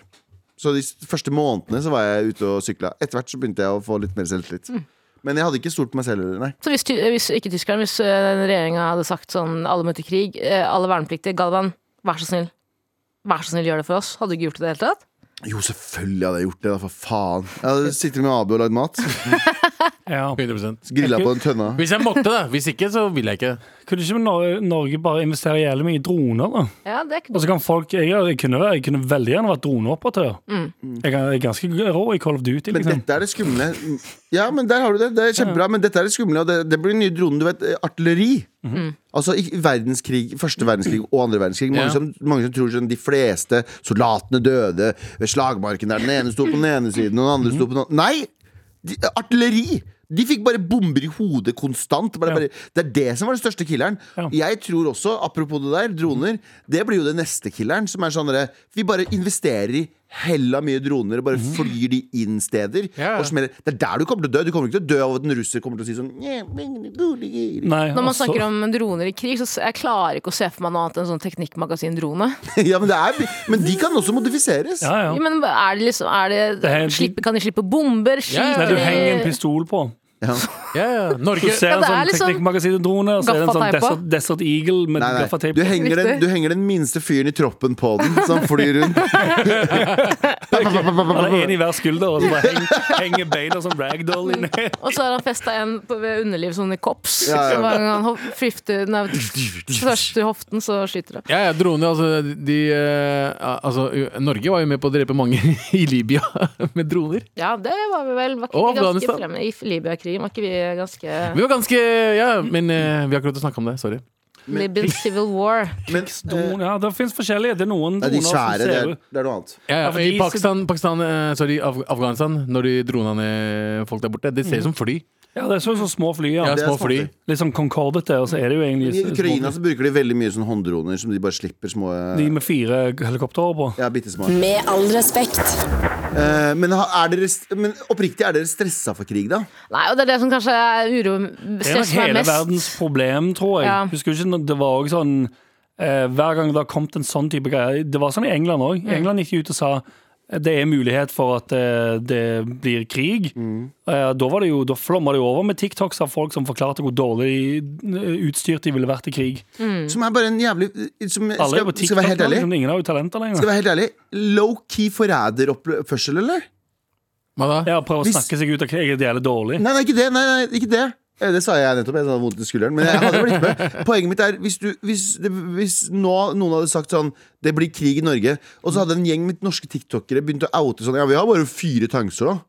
Så de s- første månedene så var jeg ute og sykla. Etter hvert så begynte jeg å få litt mer selvtillit. Men jeg hadde ikke stolt på meg selv. Nei.
Så hvis, ty- hvis ikke tyskerne, hvis eh, regjeringa hadde sagt sånn alle møter krig, eh, alle vernepliktige, Galvan, vær så snill. Vær så snill, gjør det for oss. Hadde du ikke gjort det i det hele tatt?
Jo, selvfølgelig hadde jeg gjort det, da, for faen. Jeg hadde sittet med Abu og lagd mat.
Ja.
100%
Grilla på en tønne.
Hvis jeg måtte, da. Hvis ikke, så vil jeg ikke.
Kunne ikke Nor- Norge bare investere jævlig mye i droner, da?
Ja, det er ikke
Og så kan folk Jeg, jeg, kunne, jeg kunne veldig gjerne vært droneoperatør.
Mm.
Jeg er jeg er ganske rå i Call of Duty.
Men
Liksom.
dette er det skumle. Ja, men der har du det. Det er kjempebra. Men dette er det skumle, og det, det blir den nye dronen. Du vet, eh, artilleri. Altså i verdenskrig, første verdenskrig og andre verdenskrig. Mange,
Ja.
som, mange som tror sånn de fleste soldatene døde ved slagmarken der den ene sto på den ene siden, og den andre sto på den andre. Nei! De, artilleri! De fikk bare bomber i hodet konstant. Bare, bare, det er det som var den største killeren. Jeg tror også, apropos det der, droner. Det blir jo det neste killeren. Som er sånn derre Vi bare investerer i hella mye droner og bare flyr de inn steder.
Mhm. Ja, ja.
Og smeller. Det er der du kommer til å dø. Du kommer ikke til å dø av at en russer kommer til å si sånn «Nye, mine gode
Nei,
Når man
altså-
snakker om droner i krig, så s- jeg klarer ikke å se for meg noe annet enn sånn teknikkmagasin-drone.
Ja, men, det er, men de kan også modifiseres.
ja, ja.
Men er det liksom er det,
Det er en-
slipp, Kan de slippe bomber?
ja.
Nei,
Skyter
du henger en
de
pistol på.
Ja.
Ja, ja.
Du
Norge
ser en
Ja, det er
sånn
liksom
teknikkmagasin-drone, og så er det en sånn
gaffateipa.
Desert, Desert Eagle med
Nei, nei. Du,
gaffateip.
henger den, du henger den minste fyren i troppen på den, som flyr rundt.
Han er en i hver skulder, og så bare henger, henger beina som ragdoll inni.
Og så har han festa en på, ved underlivet, sånn i kops.
Ja, ja.
Så hver gang han hof- frifter nei, Først i hoften, så skyter det.
Ja, ja, droner, altså, de, eh, altså u- Norge var jo med på å drepe mange i Libya med droner.
Ja, det var vi vel. Var ikke
Og
vi ganske
Afghanistan.
fremme i Libya-krigen? Var ikke vi ganske
Vi var ganske Ja, men eh, vi har ikke lov til å snakke om det. Sorry.
Libyan Civil War.
Men eh,
Don, ja, det fins forskjellige. Det er noen
nei, de
doner som
svære, det
ser
er,
ut-
det er noe annet.
Ja,
Ja,
ja,
for
I
de-
Pakistan, Pakistan eh, sorry, Af Afghanistan, når de dro ned folk der borte, det ser ut som fly.
Ja, det er sånn som små fly. Ja.
Ja,
det er
små
smart,
fly.
det.
Litt sånn concordete, og så er det jo egentlig
I
små
Ukraina
fly.
så bruker de veldig mye sånn hånddroner som de bare slipper små eh,
De med fire helikoptre på.
Ja, bittesmå.
Med all respekt.
Eh, men, ha- er dere, st- men oppriktig, er dere stressa for krig, da?
Nei, og det er det som kanskje er uro
Det er nok
stresser meg
hele
mest.
verdens problem, tror jeg.
Ja.
Husker du ikke når det var også sånn eh, Hver gang det har kommet en sånn type greie Det var sånn i England òg.
Mm.
England gikk ut og sa eh, det er mulighet for at eh, det blir krig.
Mm.
Eh, Da, var det jo, da flomma det jo over med TikToks av folk som forklarte hvor dårlig eh, utstyrt de ville vært i krig.
Som er bare en jævlig eh, som, skal,
Alle er på
skal
TikTok
jeg være helt
nå,
ærlig.
liksom, ingen har jo talenter
Skal jeg
lenger.
være helt ærlig Low-key forræderoppførsel, eller?
Hva da?
Ja, Prøve å
Hvis-
snakke seg ut av krig. Jeg er jævlig dårlig.
Nei, nei, ikke det. Nei, nei, ikke det. Eh, Det sa jeg nettopp. Jeg hadde vondt i skulderen. Men jeg hadde blitt med. Poenget mitt er hvis, du, hvis, det, hvis nå noen hadde sagt sånn Det blir krig i Norge, og så hadde en gjeng med norske tiktokere begynt å oute sånn Ja, vi har bare fire tankser, da.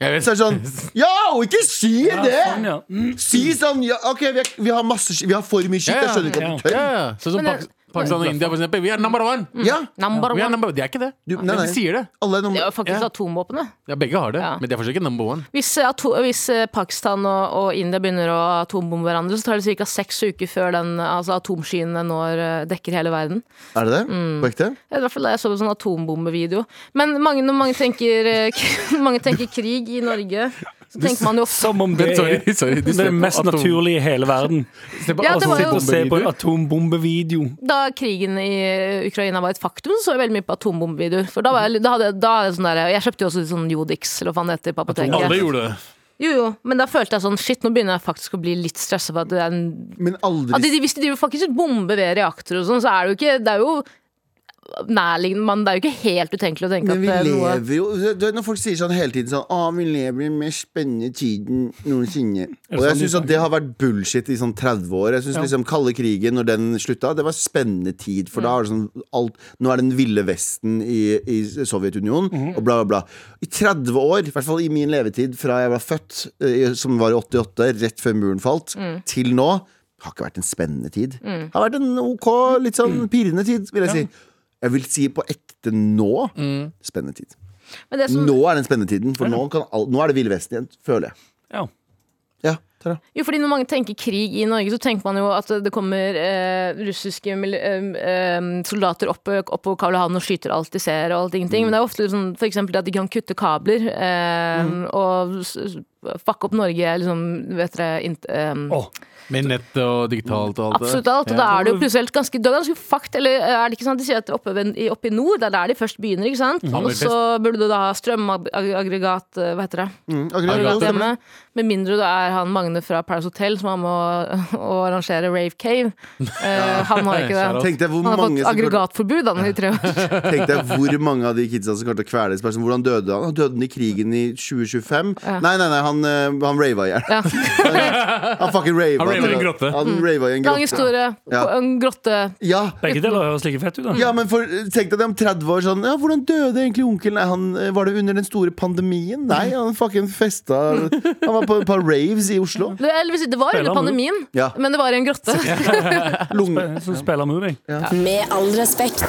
Jeg vet.
Så er det sånn Ja, og ikke si
Ja,
det!
sånn, ja. Mm.
Si sånn ja, OK, vi, er, vi har masse sk- Vi har for mye skitt. Jeg skjønner ikke at du
Ja,
tør.
ja. Sånn som
Men
Pak
det-
Pakistan og India, for eksempel. Vi er number one!
Ja,
Number
Vi er
one.
number, de er ikke det.
Du- nei,
Men
nei.
de sier det.
alle er
Det er
nummer
jo faktisk atomvåpenet.
Ja, begge har det,
Ja.
men de er fortsatt ikke number one.
Hvis, eh, ato hvis eh, Pakistan og, og India begynner å atombombe hverandre, så tar det ca. seks uker før den, eh, altså, atomskyene når, eh, dekker hele verden.
Er det det? På ekte?
Det er I hvert fall da jeg så en sånn atombombevideo. Men mange, når mange tenker, eh, k- mange tenker krig i Norge, så tenker man jo ofte
Som om det
Men sorry,
er
sorry de
det er
ser på
mest
atom-
naturlige i hele verden.
Se på
Ja, det var jo-
atom-
Å se på en
bombevideoer.
atombombevideo.
Da krigen i Ukraina var et faktum, så så jeg veldig mye på atombombevideoer. For da var jeg, da hadde, jeg- da er det sånn der, jeg kjøpte jo også sånn Jodix eller hva faen det heter på apoteket.
Alle gjorde det.
Jo, jo, men da følte jeg sånn Shit, nå begynner jeg faktisk å bli litt stressa for at det er en
Men
at de,
aldri
de- Hvis de driver faktisk bomber ved reaktorer og sånn, så er det jo ikke Det er jo nærliggende man, Det er jo ikke helt utenkelig å tenke
men vi
at det er noe
lever jo du vet Når folk sier sånn hele tiden sånn Å, vi lever i den mest spennende tiden noensinne. Og
sånn
jeg
de
syns at det har vært bullshit i sånn 30 år. Jeg synes liksom Kalde krigen, når den slutta, det var spennende tid. For da er det sånn alt Nå er det den ville vesten i, i Sovjetunionen, og bla, bla, bla. I 30 år, i hvert fall i min levetid fra jeg var født, eh, som var i 88, rett før muren falt, til nå, har ikke vært en spennende tid. Det har vært en ok, litt sånn pirrende tid, vil jeg si. Jeg vil si på ekte nå spennende tid.
Men det som,
Nå er den spennende tiden, for nå, kan all, nå er det Ville Vesten igjen, føler jeg.
Ja.
Ja, Tara.
Jo, fordi Når mange tenker krig i Norge, så tenker man jo at det kommer eh, russiske mil- eh, eh, soldater opp, opp på Karl Johan og skyter alt de ser. og alt ingenting.
Mm.
Men det er ofte sånn, for eksempel at de kan kutte kabler eh,
Mm.
og s- s- fucke opp Norge. liksom, vet dere, int, eh,
Åh,
Med nett og digitalt og alt det.
Absolutt alt, og da er det jo plutselig helt ganske, det er ganske fucked. Eller er det ikke sant, de sier at oppe, ved- i- oppe i nord, det er der de først begynner, ikke sant?
Mm.
Og
Hammerfest.
så burde du da ha strømaggregat, eh, hva heter det?
Mm, akkurat,
Akkurat.
stemmer det.
Hjemme. Med mindre du er han Magne fra Paris Hotel som er med å, å arrangere Rave Cave. Eh, han har ikke
Shout out.
det.
Tenk deg hvor
Han
mange
har fått
som kommer-
aggregatforbud han, i tre år.
tenk deg hvor mange av de kidsa som kommer til å kveles. Bare sånn, Hvordan døde han? Han døde han i krigen i 2025? Nei, nei, nei, han, eh, han rava i hjel.
Ja.
Han fucking rava.
Han rava i en
til-
grotte.
Han rava i en
Lang
grotte.
historie.
Ja.
på En grotte.
Ja,
begge deler høres like fett ut. da.
ja, men for, tenk deg det om 30 år sånn Ja, hvordan døde egentlig onkelen? Nei, han, eh, var det under den store pandemien? Nei, han fucking festa Han var på et par raves i Oslo.
Det, eller, hvis- det var
Spiller
under
han
pandemien,
Ja.
men det var i en grotte.
Lunge.
Som spiller movie.
Med all respekt.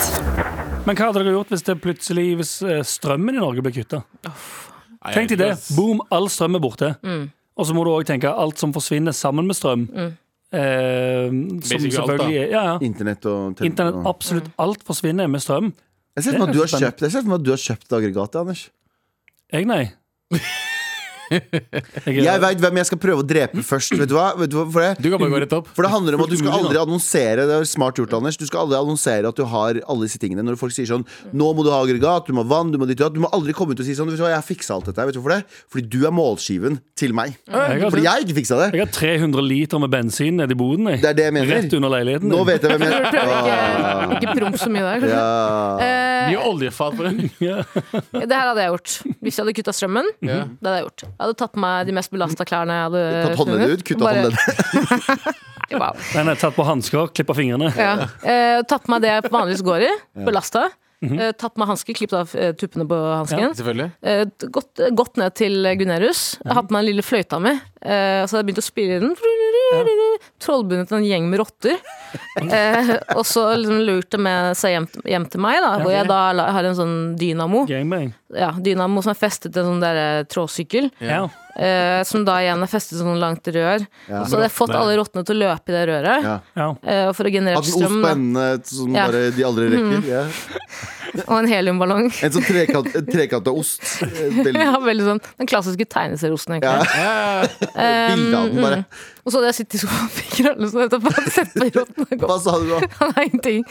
Men hva hadde dere gjort hvis det plutselig Hvis eh, strømmen i Norge ble kutta?
Nei,
Tenk deg det.
ass.
Boom, all strøm er borte.
Mm.
Og så må du òg tenke alt som forsvinner sammen med strøm. Eh, som
Basically alt,
selvfølgelig er ja, ja.
Internett og tele-
Internett,
og-
absolutt alt forsvinner med strøm.
Jeg ser for meg at du har
Det er spennende.
kjøpt Jeg ser for meg at du har kjøpt aggregatet, Anders.
Jeg, nei. Jeg,
Jeg veit hvem jeg skal prøve å drepe først. Vet du hva? Vet du hva? For,
Du
det,
kan bare gå rett opp.
for det handler om at du skal
Fullt mulig,
aldri annonsere Det er smart gjort, Anders. Du skal aldri annonsere at du har alle disse tingene. Når folk sier sånn Nå må du ha aggregat, du må ha vann, du må ditt og datt. Du må aldri komme ut og si sånn Vet du hva, jeg har fiksa alt dette. her." Vet du hvorfor det? Fordi du er målskiven til meg.
har-
Fordi jeg har ikke fiksa det.
jeg har 300 liter med bensin nede i boden. Jeg.
Det er det jeg
Rett
mener.
under leiligheten.
Nå vet jeg hvem jeg
Prøver
Åh.
ikke, ikke promp så mye der. kanskje.
Ja.
Eh,
Mye oljefat på den.
det her hadde jeg gjort. Hvis jeg hadde kutta strømmen, det hadde jeg gjort. Jeg hadde tatt på meg de mest belasta klærne. Jeg hadde
Tatt håndleddet ut, kutta
Bare-
håndleddet.
Wow.
Nei, nei, tatt på hansker, klippa fingrene.
Ja. Eh, tatt på meg det jeg vanligvis går i, belasta. Eh, tatt på meg hansker, klippet av eh, tuppene på hansken.
Selvfølgelig.
Eh, t- gått, gått ned til Gunerius. Jeg har på meg den lille fløyta mi. Eh, så jeg begynte å spille i den. Trollbundet en gjeng med rotter. Eh, og så liksom lurte de med seg hjem, hjem til meg, da, hvor jeg da la- har en sånn dynamo.
Gangbang.
Ja, dynamo som er festet til en sånn der eh, trådsykkel.
Ja.
Eh, som da igjen er festet sånn langt rør. Så hadde jeg fått alle rottene til å løpe i det røret.
Ja.
Ja.
eh, For å generere
Hatt en ost
strøm.
på
Da.
hendene som
Ja. Mhm.
bare de aldri rekker. Ja.
Og en heliumballong.
En sånn trekant, en trekanta ost. Eh, Veldig
Ja, veldig sånn Den klassiske tegneserieosten, egentlig.
bilde av den, bare.
Og så hadde jeg sittet i sofaen og fikk rødløs etterpå og sett på rottene gå.
Hva sa du da?
Nei, ingenting.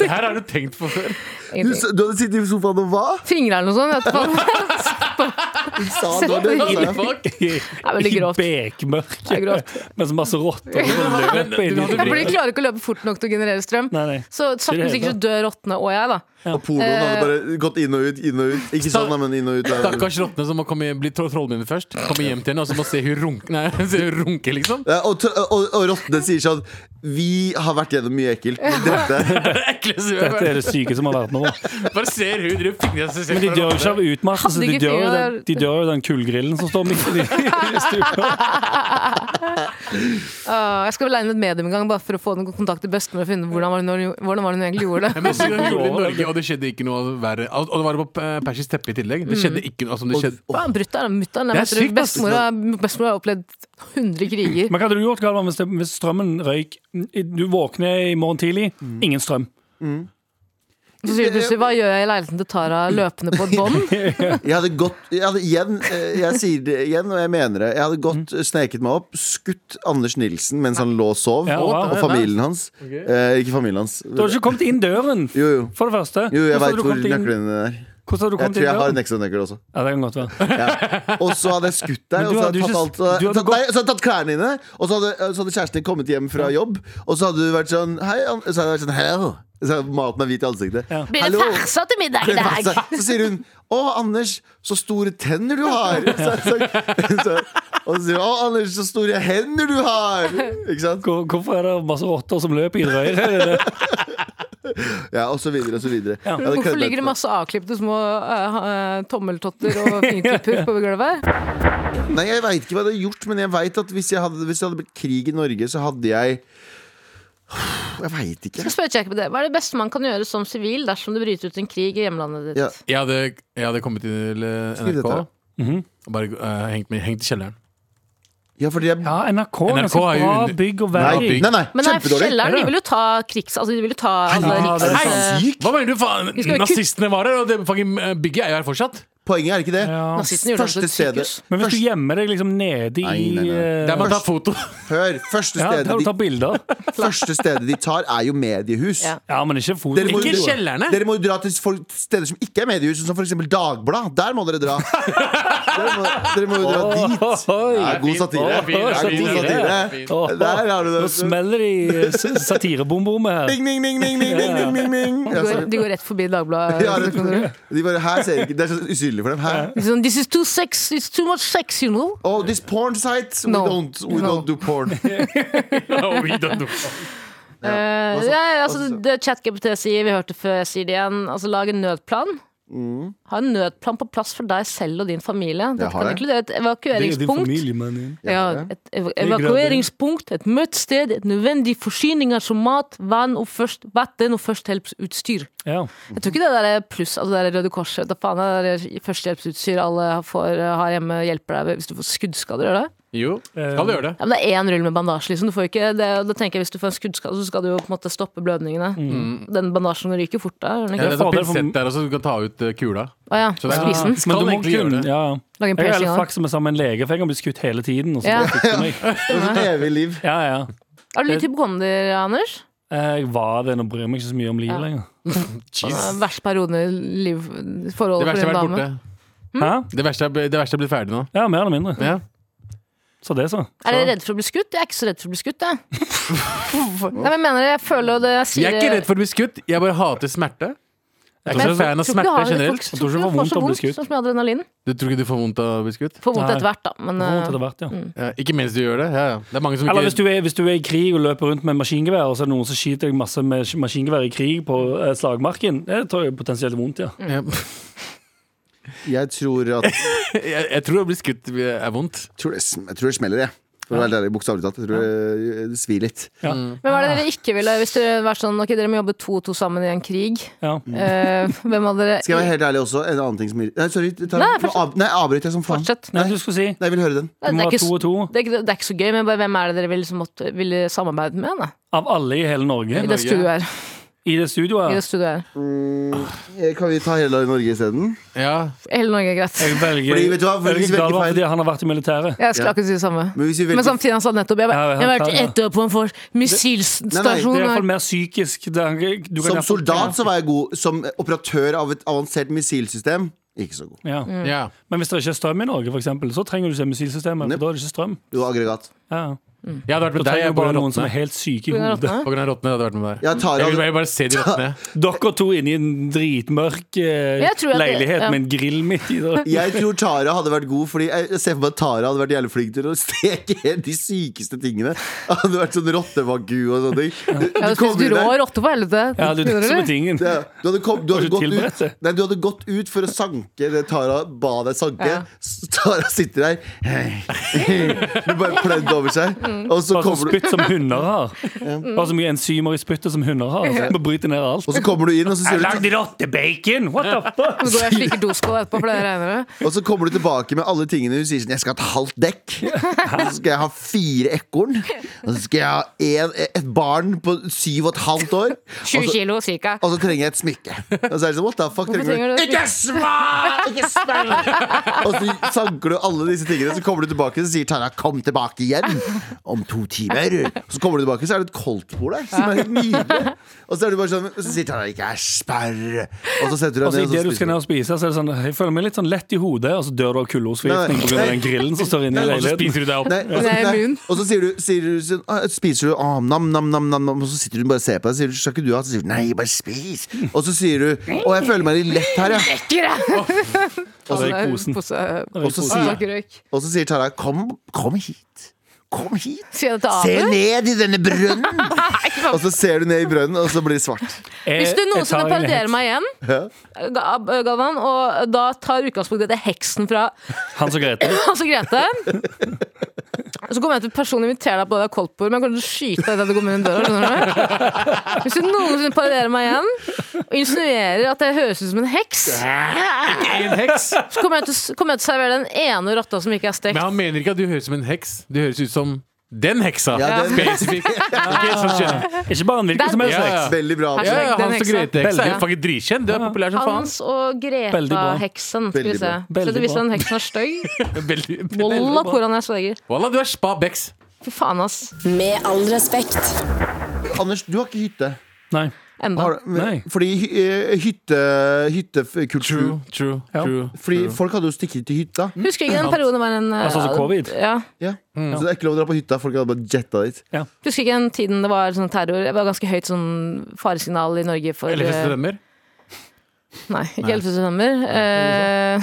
Det her har du tenkt på før.
Du,
ingenting.
s- du hadde sittet i sofaen og hva?
Fingre eller noe sånt. vet du faen.
Sa du det?
Sett
Sa jeg.
I
er veldig
i
grovt. Det er
bekmørket.
grovt.
Med så masse rotter.
Men du hadde
For de
blitt-
klarer ikke å løpe fort nok til å generere strøm.
Nei, nei.
Så sakte, men sikkert så dør rottene og jeg, da.
Og pornoen hadde bare gått inn og ut, inn og ut. Ikke sånn, da, men inn og ut. Ja.
Stakkars rottene som må komme, bli tro- trollmenn først. Komme hjem til henne og så må se hun runke, nei, se hun runke liksom.
Ja, og, tr- og, og rottene sier sånn Vi har vært gjennom mye ekkelt. men Dette.
Det er det ekleste jeg har
Dette
hørt.
er det syke som har vært nå.
Bare ser hun drive fingrene seg
Men de dør jo ikke av utmattelse.
Hadde
De
ikke
dør jo
fingre
den, de dør jo den kullgrillen som står midt i i stua.
Åh, Ah, jeg skal vel leie inn et medium en gang bare for å få noen kontakt til bestemor og finne hvordan var det når- hvordan var det hun egentlig gjorde det.
Men så gjorde hun det i Norge, og det skjedde ikke noe verre. Og og det var på eh, persisk teppe i tillegg. Det skjedde ikke noe som det skjedde.
Hva er brutt der, mutter'n? Jeg
Det er
møtte
sykt, ass.
Bestemor har- bestemor har opplevd 100 kriger.
Men hva hadde du gjort Galvan, hvis, det, hvis strømmen røyk? Du våkner i morgen tidlig,
Mm.
ingen strøm.
Så sier du plutselig hva gjør jeg i leiligheten til Tara løpende på et bånd?
Jeg hadde gått jeg hadde igjen, eh, Jeg sier det igjen, og jeg mener det. Jeg hadde
Mm.
gått, eh, sneket meg opp, skutt Anders Nilsen mens han lå og sov.
Ja, wow.
Og familien hans. Eh, ikke familien hans.
Du hadde ikke kommet inn døren,
Jo, jo.
for det første.
Jo, jeg
Hvordan hadde
veit
du
hvor
kommet inn-
nøklene er.
Hvordan hadde du
Jeg
kommet inn
tror jeg har
døren?
en ekstra nøkkel også.
Ja, det kan godt være.
Ja. Og så hadde jeg skutt deg,
Men
og
du
så
hadde
hadde jeg
jo
tatt, alt,
ikke- du hadde
tatt,
gått-
nei, så hadde jeg tatt klærne dine. Og så hadde, så hadde kjæresten din kommet hjem fra jobb, og så hadde du vært sånn Hei, An-» så hadde jeg vært sånn Hello. Så hadde maten er hvit i ansiktet.
Blir det
Hallo.
farsa til middag i dag?
Så sier hun Å, Anders, så store tenner du har! Så, så, så, og så sier hun Å, Anders, så store hender du har! Ikke sant?
Hvor- Hvorfor er det masse rotter som løper i røret?
Ja, og så videre og så videre. Jeg hadde
Hvorfor
kledd meg
ligger det
til
masse avklipte små eh, eh, tommeltotter og fingertupper på gulvet?
Nei, jeg veit ikke hva jeg hadde gjort, men jeg vet at hvis, jeg hadde, hvis det hadde blitt krig i Norge, så hadde jeg Jeg veit ikke.
Så spør jeg ikke på det. Hva er det beste man kan gjøre som sivil dersom det bryter ut en krig i hjemlandet ditt?
Ja.
Jeg hadde, jeg hadde kommet til eh,
Skriv
NRK
dette.
og bare eh, hengt, meg- hengt i kjelleren.
Ja, fordi jeg
Ja, NRK,
NRK
er ganske
er jo
bra
under-
bygg å
Nei,
være i.
bygg.
nei, nei,
Men nei,
kjempedårlig.
kjelleren, de vil jo ta krigs... Altså, de vil jo ta alle
Ja,
riks...
det er
Er
eh,
du syk?
Hva mener du faen?
Vi skal jo kutte-
Nazistene var her, og det fucking eh, bygget er jo her fortsatt.
Poenget er ikke det.
Ja.
Nazistene
Første
gjorde det til et
stedet
sykehus.
Men hvis du gjemmer deg liksom nede i
Nei, nei, nei.
eh,
Der man tar foto.
Hør, første
Ja,
stedet,
der du tar
de,
bilder.
første stedet de tar, er jo mediehus.
Ja.
Ja, men ikke foto.
Dere må,
Ikke
jo dra-
kjellerne.
dere må jo dra til folk, steder som ikke er mediehus, som f.eks. Dagblad. Der må dere dra. dere, må, dere må jo dra dit. Det er god satire.
Å, fin, fin,
Det er god
fin,
satire.
fin.
Der har du
Nå
det.
smeller det i eh, s- satirebomberommet her.
Ding, ding, ding, ding, ding, ding, ding, ding, ding.
De
Ja,
går,
sorry.
de går rett forbi Dagbladet.
Ja, det- De bare, her ser jeg ikke Det er så usynlig for dem. Her.
Liksom, This is too sex, it's too much sex, you know.
Oh, this porn site. We
No.
don't, we
No.
don't do porn.
Oh, we don't know.
Eh,
hva så?
ja, ja,
Hva
altså,
så?
det ChatGPT sier, vi hørte før jeg sier det igjen, altså lag en nødplan. Ha en nødplan på plass for deg selv og din familie. Dette
Jeg har
kan
det.
inkludere et evakueringspunkt. Ja,
er
et ev
greit, det.
evakueringspunkt, et møtested, et nødvendig forsyninger som mat, vann og først, vatten og førstehjelpsutstyr.
Ja.
Jeg tror ikke det der er pluss, altså det der Røde Korset, da faen det der er førstehjelpsutstyr alle får, har hjemme, hjelper deg hvis du får skuddskader, gjør det?
Jo, skal du gjøre det?
Ja, men det er én rull med bandasje, liksom. Du får ikke, det, da tenker jeg hvis du får en skuddskade, så skal du jo på en måte stoppe blødningene. Den bandasjen ryker fort da, gjør den
Ja,
ikke?
det er sånn pinsett der også, du kan ta ut eh, kula.
Å ja,
Så det er-
spisen.
Men
Skal
du
han
må
egentlig gjøre
kunne
det?
ja.
Lage en
Jeg er
piercing
heller
av.
flaks som er sammen med en lege, for jeg kan bli skutt hele tiden. Og så
Ja.
bare fikk de meg.
Det er sånn evig liv.
Ja, ja. Eh,
Er du litt hypokonder, Anders?
Jeg var det, nå bryr jeg meg ikke så mye om livet lenger.
Jeez.
Altså, Verst periode i liv,
Det
forholdet for
verste
din
er vært
dame.
borte.
Hæ?
Det verste er, det verste er blitt ferdig nå.
Ja, mer eller mindre.
Ja.
Så det, så.
Er dere redd for å bli skutt? Jeg er ikke så redd for å bli skutt, jeg. Nei, men jeg mener det, jeg føler jo det jeg sier
Jeg er ikke redd for å bli skutt, jeg bare hater smerte. Jeg er
Men
ikke så fan av smerte generelt.
Jeg tror ikke det var vondt å bli skutt.
Sånn som jeg hadde adrenalin.
Du tror ikke du får vondt av å bli skutt?
Får vondt
Nei.
etter hvert, da. Men,
Vondt
eh,
etter hvert, ja.
Ja, ikke mens du gjør det. Ja, ja. Det er mange
Mm.
som
Eller hvis
ikke
du, er, hvis du er i krig og løper rundt med maskingevær, og så er det noen som skyter deg masse med sk- maskingevær i krig på eh, slagmarken, det tror jeg er potensielt vondt, ja.
Ja.
Jeg tror at
jeg, jeg tror å bli skutt er vondt.
tror det, sm- jeg tror det smeller, jeg. For å være helt ærlig, Bokstavelig talt. Jeg tror det- det svir litt.
Ja.
Men hva er det dere ikke ville hvis dere var sånn Ok, dere må jobbe to og to sammen i en krig.
Ja.
Eh, hvem hadde dere
Skal jeg være helt ærlig også? En annen ting som irri- Nei, sorry. Ta,
Nei,
nå
fortsett.
av, nei, avbryter jeg som faen?
Fortsett.
Nei, du skulle si
Nei, jeg vil høre den.
du
Nei, det,
må
er
ha
ikke,
to og
s-
to
det, er ikke, det er ikke så gøy, men bare, hvem er det dere ville, liksom, måtte, ville samarbeide med? Da?
av alle i hele Norge
I det studioet her.
i det
I
studioet.
det studioet her.
Eh, Kan vi ta hele Norge isteden?
Ja.
Hele Norge er greit.
Jeg velger,
Fordi, vet du hva, for
velger
hvis vi velger
Galvan
feil-
fordi han har vært i militæret.
Jeg skulle
Ja.
akkurat si det samme.
Men hvis vi velger-
Men sånn samtidig han sa nettopp Jeg, bare,
Ja,
jeg har
han
vært
tar det.
ett år på en for
Nei,
Det
nei,
er iallfall
missilstasjon.
mer psykisk. Det er, du kan
Som
iallfall-
soldat så var jeg god. Som operatør av et avansert missilsystem ikke så god.
ja.
Mm.
ja.
Men hvis det ikke er strøm i Norge, for eksempel, så trenger du ikke missilsystemet. For da er det ikke strøm.
Jo, aggregat.
Ja.
Jeg
Da
hadde vært med deg
trenger
jeg,
du
på
bare
grunn av
noen som
rottene.
er helt syke i
På grunn av
hodet.
rottene.
På grunn av rottene hadde jeg vært med deg.
Ja, Tara,
Jeg
hadde-
vil jeg vil bare se de rottene.
Dere to inne i en dritmørk eh,
Jeg tror at det-
leilighet
ja.
med en grill midt i der.
Jeg tror Tara hadde vært god, Fordi jeg ser for meg at Tara hadde vært jævlig flink til å steke helt de sykeste tingene. Hadde vært sånn rottevagu og sånne ting. Du,
Jeg
du
hadde
kom
spist
inn
rå
der-
rotte på helvete.
Ja, det er det som
Skjønner
er
du?
tingen.
Ja, du, hadde kom, du,
Var
hadde gått
du tilberedt
ut,
det?
nei, du hadde gått ut for å sanke det Tara ba deg sanke.
Ja.
S- Tara sitter der Hun bare pløyd over seg.
Mm.
Og så
Bare sånn
kommer du
spytt som hunder har. Bare så mye enzymer i spyttet som hunder har. Så vi bryter ned alt.
og så kommer du inn, og så, sier
Jeg lagde
du,
rottebacon! What the fuck?
Så går jeg og slikker doskål etterpå, for det regner med.
og så kommer du tilbake med alle tingene hun sier sånn Jeg skal ha et halvt dekk. Og så skal jeg ha fire ekorn. Og så skal jeg ha en, et barn på syv og et halvt år. Og
20
så,
kilo cirka.
og så trenger jeg et smykke. Og så er det sånn, what the fuck
Hvorfor
trenger du
trenger du det?
Og så sanker du alle disse tingene, så kommer du tilbake, så sier Tara 'kom tilbake igjen' om to timer. Og så kommer du tilbake, så er det et koldtbord der, som er helt nydelig. Og så er det bare sånn, og så sier Tara 'ikke sperr', og så setter
Og
du
så i
deg ned,
det du
og så
skal ned og spise, så er det sånn Jeg føler meg litt sånn lett i hodet, og så dør du av kuldeårsforgiftning
Nei, nei.
pga. den grillen som står inne i
Nei,
Og så
leiligheten.
spiser du deg opp.
Nei, og, så,
Nei,
nei,
munn.
og så sier du, sier du sånn, «Ah, spiser du ah, nam, nam, nam, nam, nam, og så sitter du bare og ser på deg, sier du, skal ikke du ha? Så sier du, nei, bare spis. Og så sier du, å, jeg føler meg litt lett her, ja.
Og så i posen.
Pose,
Og så
pose,
sier,
røyk.
og så sier Tara, kom, kom hit. Kom hit.
Sier jeg det til
Se
Abu?
ned i denne brønnen!
faen.
og så ser du ned i brønnen, og så blir det svart.
Jeg-
Hvis det er
jeg
noen som
tar
vil
en
parodiere
heks.
meg igjen, Ga- Ab- Galvan, og da tar utgangspunkt i dette heksen fra
Han som Grete.
Hans og Grete Så kommer jeg til å personlig invitere deg på det der koldtbordet, men jeg kommer til å skyte deg idet du kommer inn døra. Skjønner du? Hvis du noensinne parodierer meg igjen og insinuerer at jeg høres ut som en heks,
En heks.
så kommer jeg til, å s- kommer jeg til å servere den ene rotta som ikke er
Men
stekt.
han mener ikke at du høres ut som en heks. Du høres ut som den heksa.
Ja, den-
Spesifikt. Ok, sånn skjønner jeg.
Ikke bare en hvilken
Den-
som helst
Ja,
heks.
ja.
Veldig bra.
Ja, ja, Hans
Den
og
heksa.
Grete-heksa er
Veldig.
jo faktisk dritkjent. Du er populær som faen.
Hans og
Veldig bra.
Greta-heksen. Skal vi
Veldig
se.
bra.
Veldig
Så det viser
bra.
den heksen er stygg.
Veldig,
Volla,
veldig bra.
hvordan jeg sverger.
Wallah, du er spa Bex.
Fy faen, ass.
Med all respekt.
Anders, du har ikke hytte.
Nei.
Enda.
Har, men-
Nei.
Fordi hy- eh, hytte, hyttekultur
True, true,
Ja.
true.
Fordi folk hadde jo stikket til hytta.
Husker ikke den perioden var en eh,
Altså, så covid?
Ja.
Ja.
Mm.
Så det er ikke lov å dra på hytta. Folk hadde bare jetta dit.
Husker ikke den tiden det var sånn terror Det var ganske høyt sånn faresignal i Norge for
11.
eh,
september.
Nei, ikke 11. september. Eh,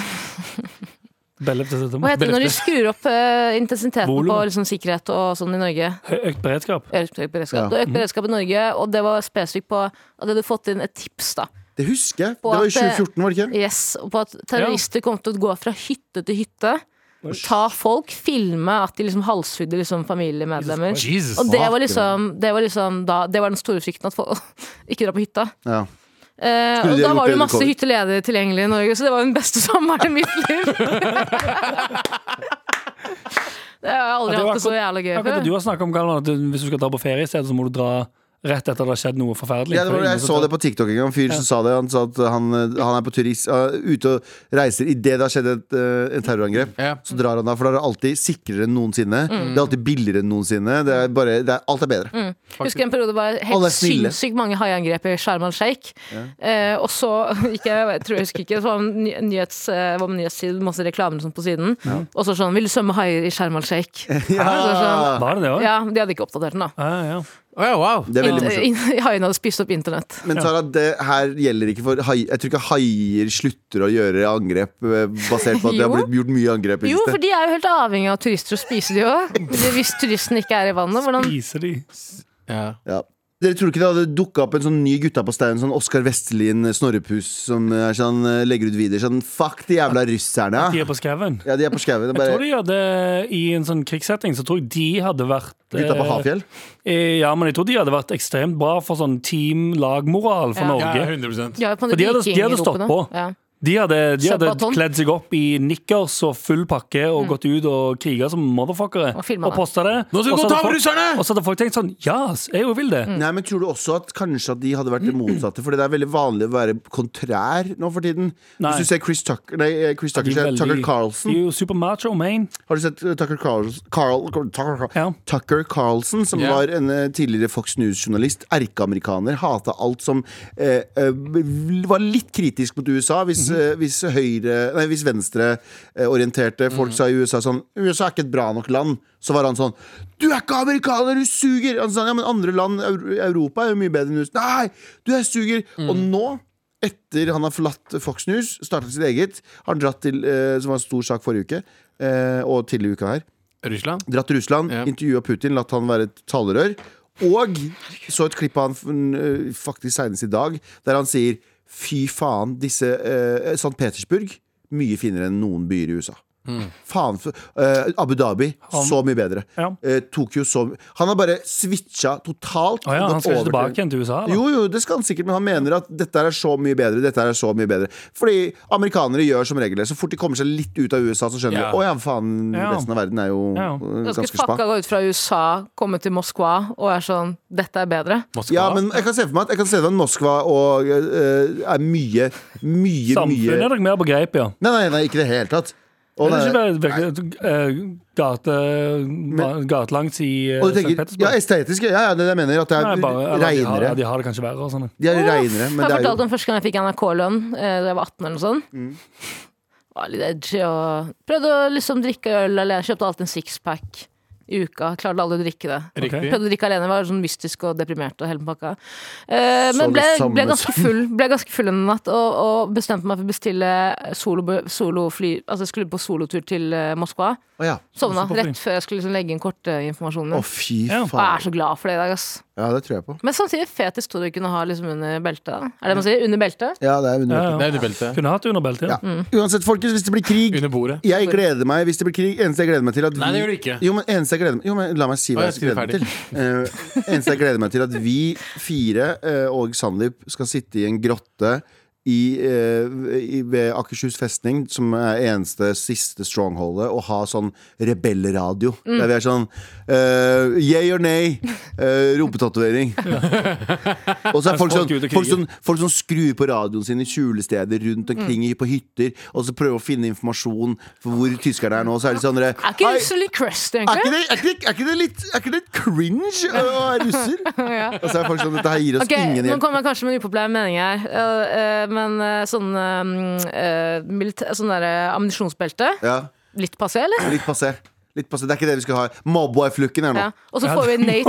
Belle til dette.
hva heter det når de skrur opp eh, intensiteten
Volum.
på liksom, sikkerhet og sånn i Norge?
Hø- Økt beredskap.
Økt økt beredskap.
Ja.
Det var økt beredskap i Norge, og det var spesifikt på at det du fått inn et tips da
Det husker jeg. Det
På
var i
at, eh,
2014, var det ikke?
Yes, og på at terrorister kom til å gå fra hytte til hytte. og Ta folk, filme at de liksom halshugde liksom familiemedlemmer.
Jesus.
Og det var liksom, det var liksom da, det var den store frykten at folk ikke dra på hytta.
Ja.
Eh,
Skulle
og
de ha gjort det
da var det
under
masse
covid?
hytteledige tilgjengelig i Norge, så det var den beste sommeren i mitt liv. det har jeg aldri
Ja, det var
hatt det så jævla gøy
Akkurat det
før.
du har snakket om, Galvan, at du- hvis du skal dra på ferie i stedet, så må du dra rett etter det har skjedd noe forferdelig.
Ja, det var,
For ingen
jeg
som
så
tar-
det på TikTok en gang. En fyr som sa det. Han sa at han, han er på turist, uh, ute og reiser idet det har skjedd et, uh, et terrorangrep.
Ja.
Så drar han da, for da er det alltid sikrere enn noensinne. Det er alltid billigere enn noensinne. Det er bare, det er, alt er bedre.
Husker en periode det var
Alle
helt
er snille.
sinnssykt mange haiangrep i Sharm el Sheikh. Eh, og så gikk jeg, jeg tror jeg husker ikke, så var det en ny- nyhets, eh, var en nyhetsside, masse reklamer sånn på siden. Og så sånn 'Vil du svømme haier i Sharm el Sheikh?'
Ja.
Var det det også?
Ja, de hadde ikke oppdatert den, da.
Ja, ja.
Å, ja, wow.
Det er veldig morsomt.
Haiene hadde spist opp internett.
Men Tara, det her gjelder ikke for hai, Jeg tror ikke haier slutter å gjøre angrep eh, basert på at det har
Jo.
blitt gjort mye angrep i
Jo, for
det siste.
de er jo helt avhengig Sånn- av turister og spiser de òg. Hvis turisten ikke er i vannet, hvordan
Spiser de?
Ja.
Ja. Dere tror ikke det hadde dukka opp en sånn ny gutta på steinen, sånn Oskar Vestelin, Snorrepus, som eh, sånn, eh, legger ut videoer sånn Fuck de jævla russerne!
De er på skauen.
Ja, de er på skauen. det er
Jeg tror
Bare
de hadde, I en sånn krigssetting så tror jeg de hadde vært
gutta på
eh,
Hafjell.
eh, Ja, men jeg tror de hadde vært ekstremt bra for sånn team-lagmoral for
Ja.
Ja,
Norge.
100
Ja, på
For de hadde-
viking-
de hadde stått
ropene.
på.
Ja.
Mm,
De hadde, de hadde
Sabaton.
kledd seg opp i nikkers og full pakke og gått ut og kriga som motherfuckere.
Mm. Og filmet
og
det.
posta det.
Nå skal vi
Og
gå
så
og ta
hadde folk-
russerne!
Og så hadde folk tenkt sånn Ja, ass, jeg jo vil det.
Nei, men tror du også at kanskje at de hadde vært det motsatte? For det er veldig vanlig å være kontrær nå for tiden.
Nei.
Hvis du ser Chris Tucker Nei, eh, Chris Tucker,
De er
sier jeg, Tucker
veldig-
Carlson.
De er jo super macho, man.
Har du sett eh, Tucker Carlson, Carl, Tucker,
Ja.
Tucker Carlson som
Ja.
var en eh, tidligere Fox News-journalist, erkeamerikaner, hata alt som eh, eh, var litt kritisk mot USA. Hvis, eh, hvis, høyre- nei, hvis venstreorienterte folk sa i USA sånn USA er ikke et bra nok land. Så var han sånn Du er ikke amerikaner, du suger! Han sa, ja, men andre land, Eur- Europa er jo mye bedre enn USA. Nei, du er suger! Og nå etter han har forlatt Fox News, startet sitt eget, har han dratt til, eh, som var en stor sak forrige uke, eh, og tidligere i uka her,
Russland?
dratt til Russland,
Ja.
intervjua Putin, latt han være et talerør, og så et klipp av han eh, faktisk senest i dag, der han sier fy faen, disse eh, St. Petersburg, mye finere enn noen byer i USA.
Mm.
Faen, for- eh, Abu Dhabi, så mye bedre.
Ja.
Eh, Tokyo, så Han har bare switcha totalt.
Å ja,
og
han
gått
skal ikke
over til-
tilbake igjen til USA? Eller?
jo, jo, det skal han sikkert, men han mener at dette her er så mye bedre. Dette her er så mye bedre Fordi amerikanere gjør som regel det. Så fort de kommer seg litt ut av USA, så skjønner
Ja.
de Å ja, faen,
Ja.
resten av verden er jo
Ja.
øh,
Da skulle
ganske spa.
fucka gå ut fra USA, komme til Moskva og er sånn Dette er bedre.
Moskva?
Ja, men jeg kan se for meg at, jeg kan se for meg at Moskva og, øh, er mye, mye,
Samfunnet er
mye
nok mer på greip, ja.
Nei, nei, nei, ikke i det hele tatt. Å,
Det
nei,
er
nei.
ikke bare virkelig- eh, gate, gatelangs i eh,
Og du
St.
tenker, ja,
Petersburg.
estetisk, ja, ja, det er det jeg mener. At det
Nei,
er
bare, eller de, har,
reinere.
de har det kanskje verre og sånn.
De er reinere, men
jeg
det er
fortalte
jo Mm.
om første gang jeg fikk NRK-lønn eh, da jeg var 18 eller noe sånt. Var litt edgy og Prøvde å liksom drikke øl alene. Kjøpte alltid en sixpack i uka. Klarte aldri å drikke det.
Riktig.
Prøvde å drikke alene, var sånn mystisk og deprimert og hele pakka. Eh,
Så
men
det
ble,
samme
ble, ganske
som-
full, ble ganske full en natt og, og bestemte meg for å bestille solo, solofly Altså jeg skulle på solotur til eh, Moskva.
Å ja.
Sovna
Hvorfor på fly?
rett før jeg skulle liksom legge inn kortinformasjonen.
Å,
min.
fy
Ja.
Og jeg er
faen.
så glad for det i dag, ass.
Ja, det tror jeg på.
Men samtidig fet historie å kunne ha liksom under beltet. da. Er det det man sier? Under beltet?
Ja, det er
Ja,
under,
Det
ja.
er under beltet.
Kunne hatt det under beltet.
ja.
Ja.
Mm.
Uansett, folkens, hvis det blir krig
Under bordet.
Jeg gleder meg hvis det blir krig. Eneste jeg gleder meg til at
Nei, det
vi-
gjør det ikke.
Jo, men eneste jeg gleder meg Jo, men la meg si
Å,
hva
jeg
jeg gleder meg til.
skriver
Eh, eneste jeg gleder meg til, at vi fire eh, og Sandeep skal sitte i en grotte i, eh, i, ved Akershus festning, som er eneste siste strongholdet, og ha sånn rebellradio. Der vi er sånn eh, Yay or nay? Uh, Rumpetatovering. Og så er folk,
folk
sånn,
ute og kriger.
folk, som, folk som skrur på radioen sin i skjulesteder rundt omkring i- på hytter, og så prøver å finne informasjon for hvor tyskerne er nå. Så er det sånn dere,
Er ikke
«Hei,
russen litt crusty,
er ikke
egentlig?
det, er ikke det, er ikke det litt Er ikke det litt cringe å være russer?
Ja.
Og så er folk sånn Dette her gir oss
Ok,
ingen
Nå
hjelp.
kommer jeg kanskje med en upopulær mening her, Eh, eh, men eh, sånn uh, Sånn der eh, ammunisjonsbelte.
Ja,
Litt passé, eller?
litt passé. Litt passé. Det er ikke det vi skal ha. Mobboy-flukken her nå.
Ja. Og så får vi Nate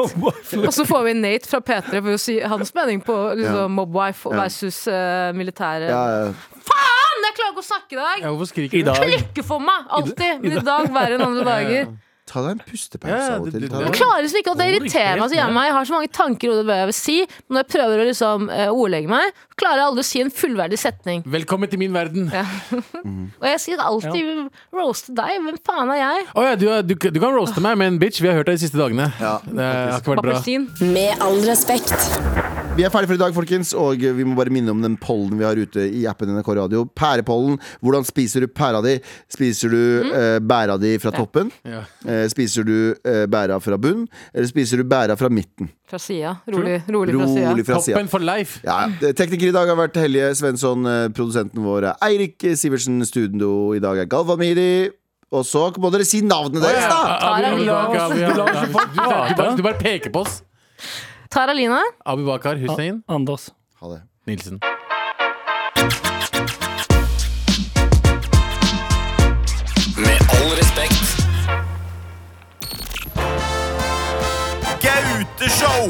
Og så får vi Nate fra P3 for å si hans mening på
Ja.
liksom, mobwife
Ja.
versus eh, militære.
Ja, ja.
Men jeg klarer ikke å snakke i dag!
Ja, hvorfor
I
skriker du?
dag.
Klikker for meg! Alltid! Men i dag verre enn andre dager.
Ta deg en pustepause
Ja,
av og
det-
til.
det-
Ta
det-
deg.
klarer liksom ikke at det
Holder
irriterer
helt
meg så hjemme.
med.
Jeg har så mange tanker i hodet om hva jeg vil si, men når jeg prøver å liksom eh, ordlegge meg, klarer jeg aldri å si en fullverdig setning.
Velkommen til min verden. Å ja.
Og jeg skal alltid roaste deg. Hvem faen er jeg?
du, er- du, du kan roaste meg, men bitch, vi har hørt deg de siste dagene.
Ja,
det har ikke vært bra.
Appelsin.
Med all respekt.
Vi er ferdige for i dag, folkens, og vi må bare minne om den pollen vi har ute i appen NRK Radio. Pærepollen. Hvordan spiser du pæra di? Spiser du
Mm.
eh, bæra di fra toppen?
Ja.
Eh, spiser du eh, bæra fra bunn? Eller spiser du bæra fra midten?
Fra sida. Rolig, rolig fra sida.
Rolig fra sida.
Toppen for life.
Ja, ja. Tekniker i dag har vært Helje Svensson. eh, Produsenten vår er Eirik Sivertsen. Studio i dag er Galvan Mihdi. Og så må dere si navnet deres, da!
Abu-
Tara
Abu
Lina.
Bakar, Abu- Abu- Abu- Du bare- du bare- Du bare peker på oss.
Tara Lina.
Abu Bakar Hussein
Anders.
Ha det.
Nilsen.
Med all respekt. Gauteshow!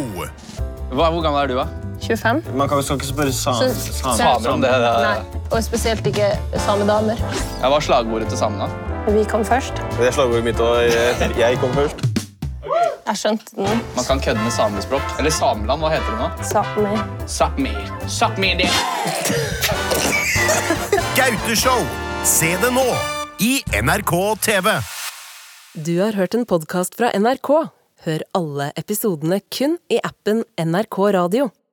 Hva, hvor gammel er du, da?
25.
Man kan jo skal ikke spørre samer.
Samer om det. det, det.
Nei, og spesielt ikke samedamer.
Jeg var slagordet til samene.
Vi kom først.
Det er slagordet mitt, og jeg- jeg kom først.
Jeg skjønte den.
Man kan kødde med samespråk. Eller Sameland, hva heter det nå?
Sápmi.
Sápmi. Sápmi det.
Gauteshow. Se det nå i NRK TV.
Du har hørt en podkast fra NRK. Hør alle episodene kun i appen NRK Radio.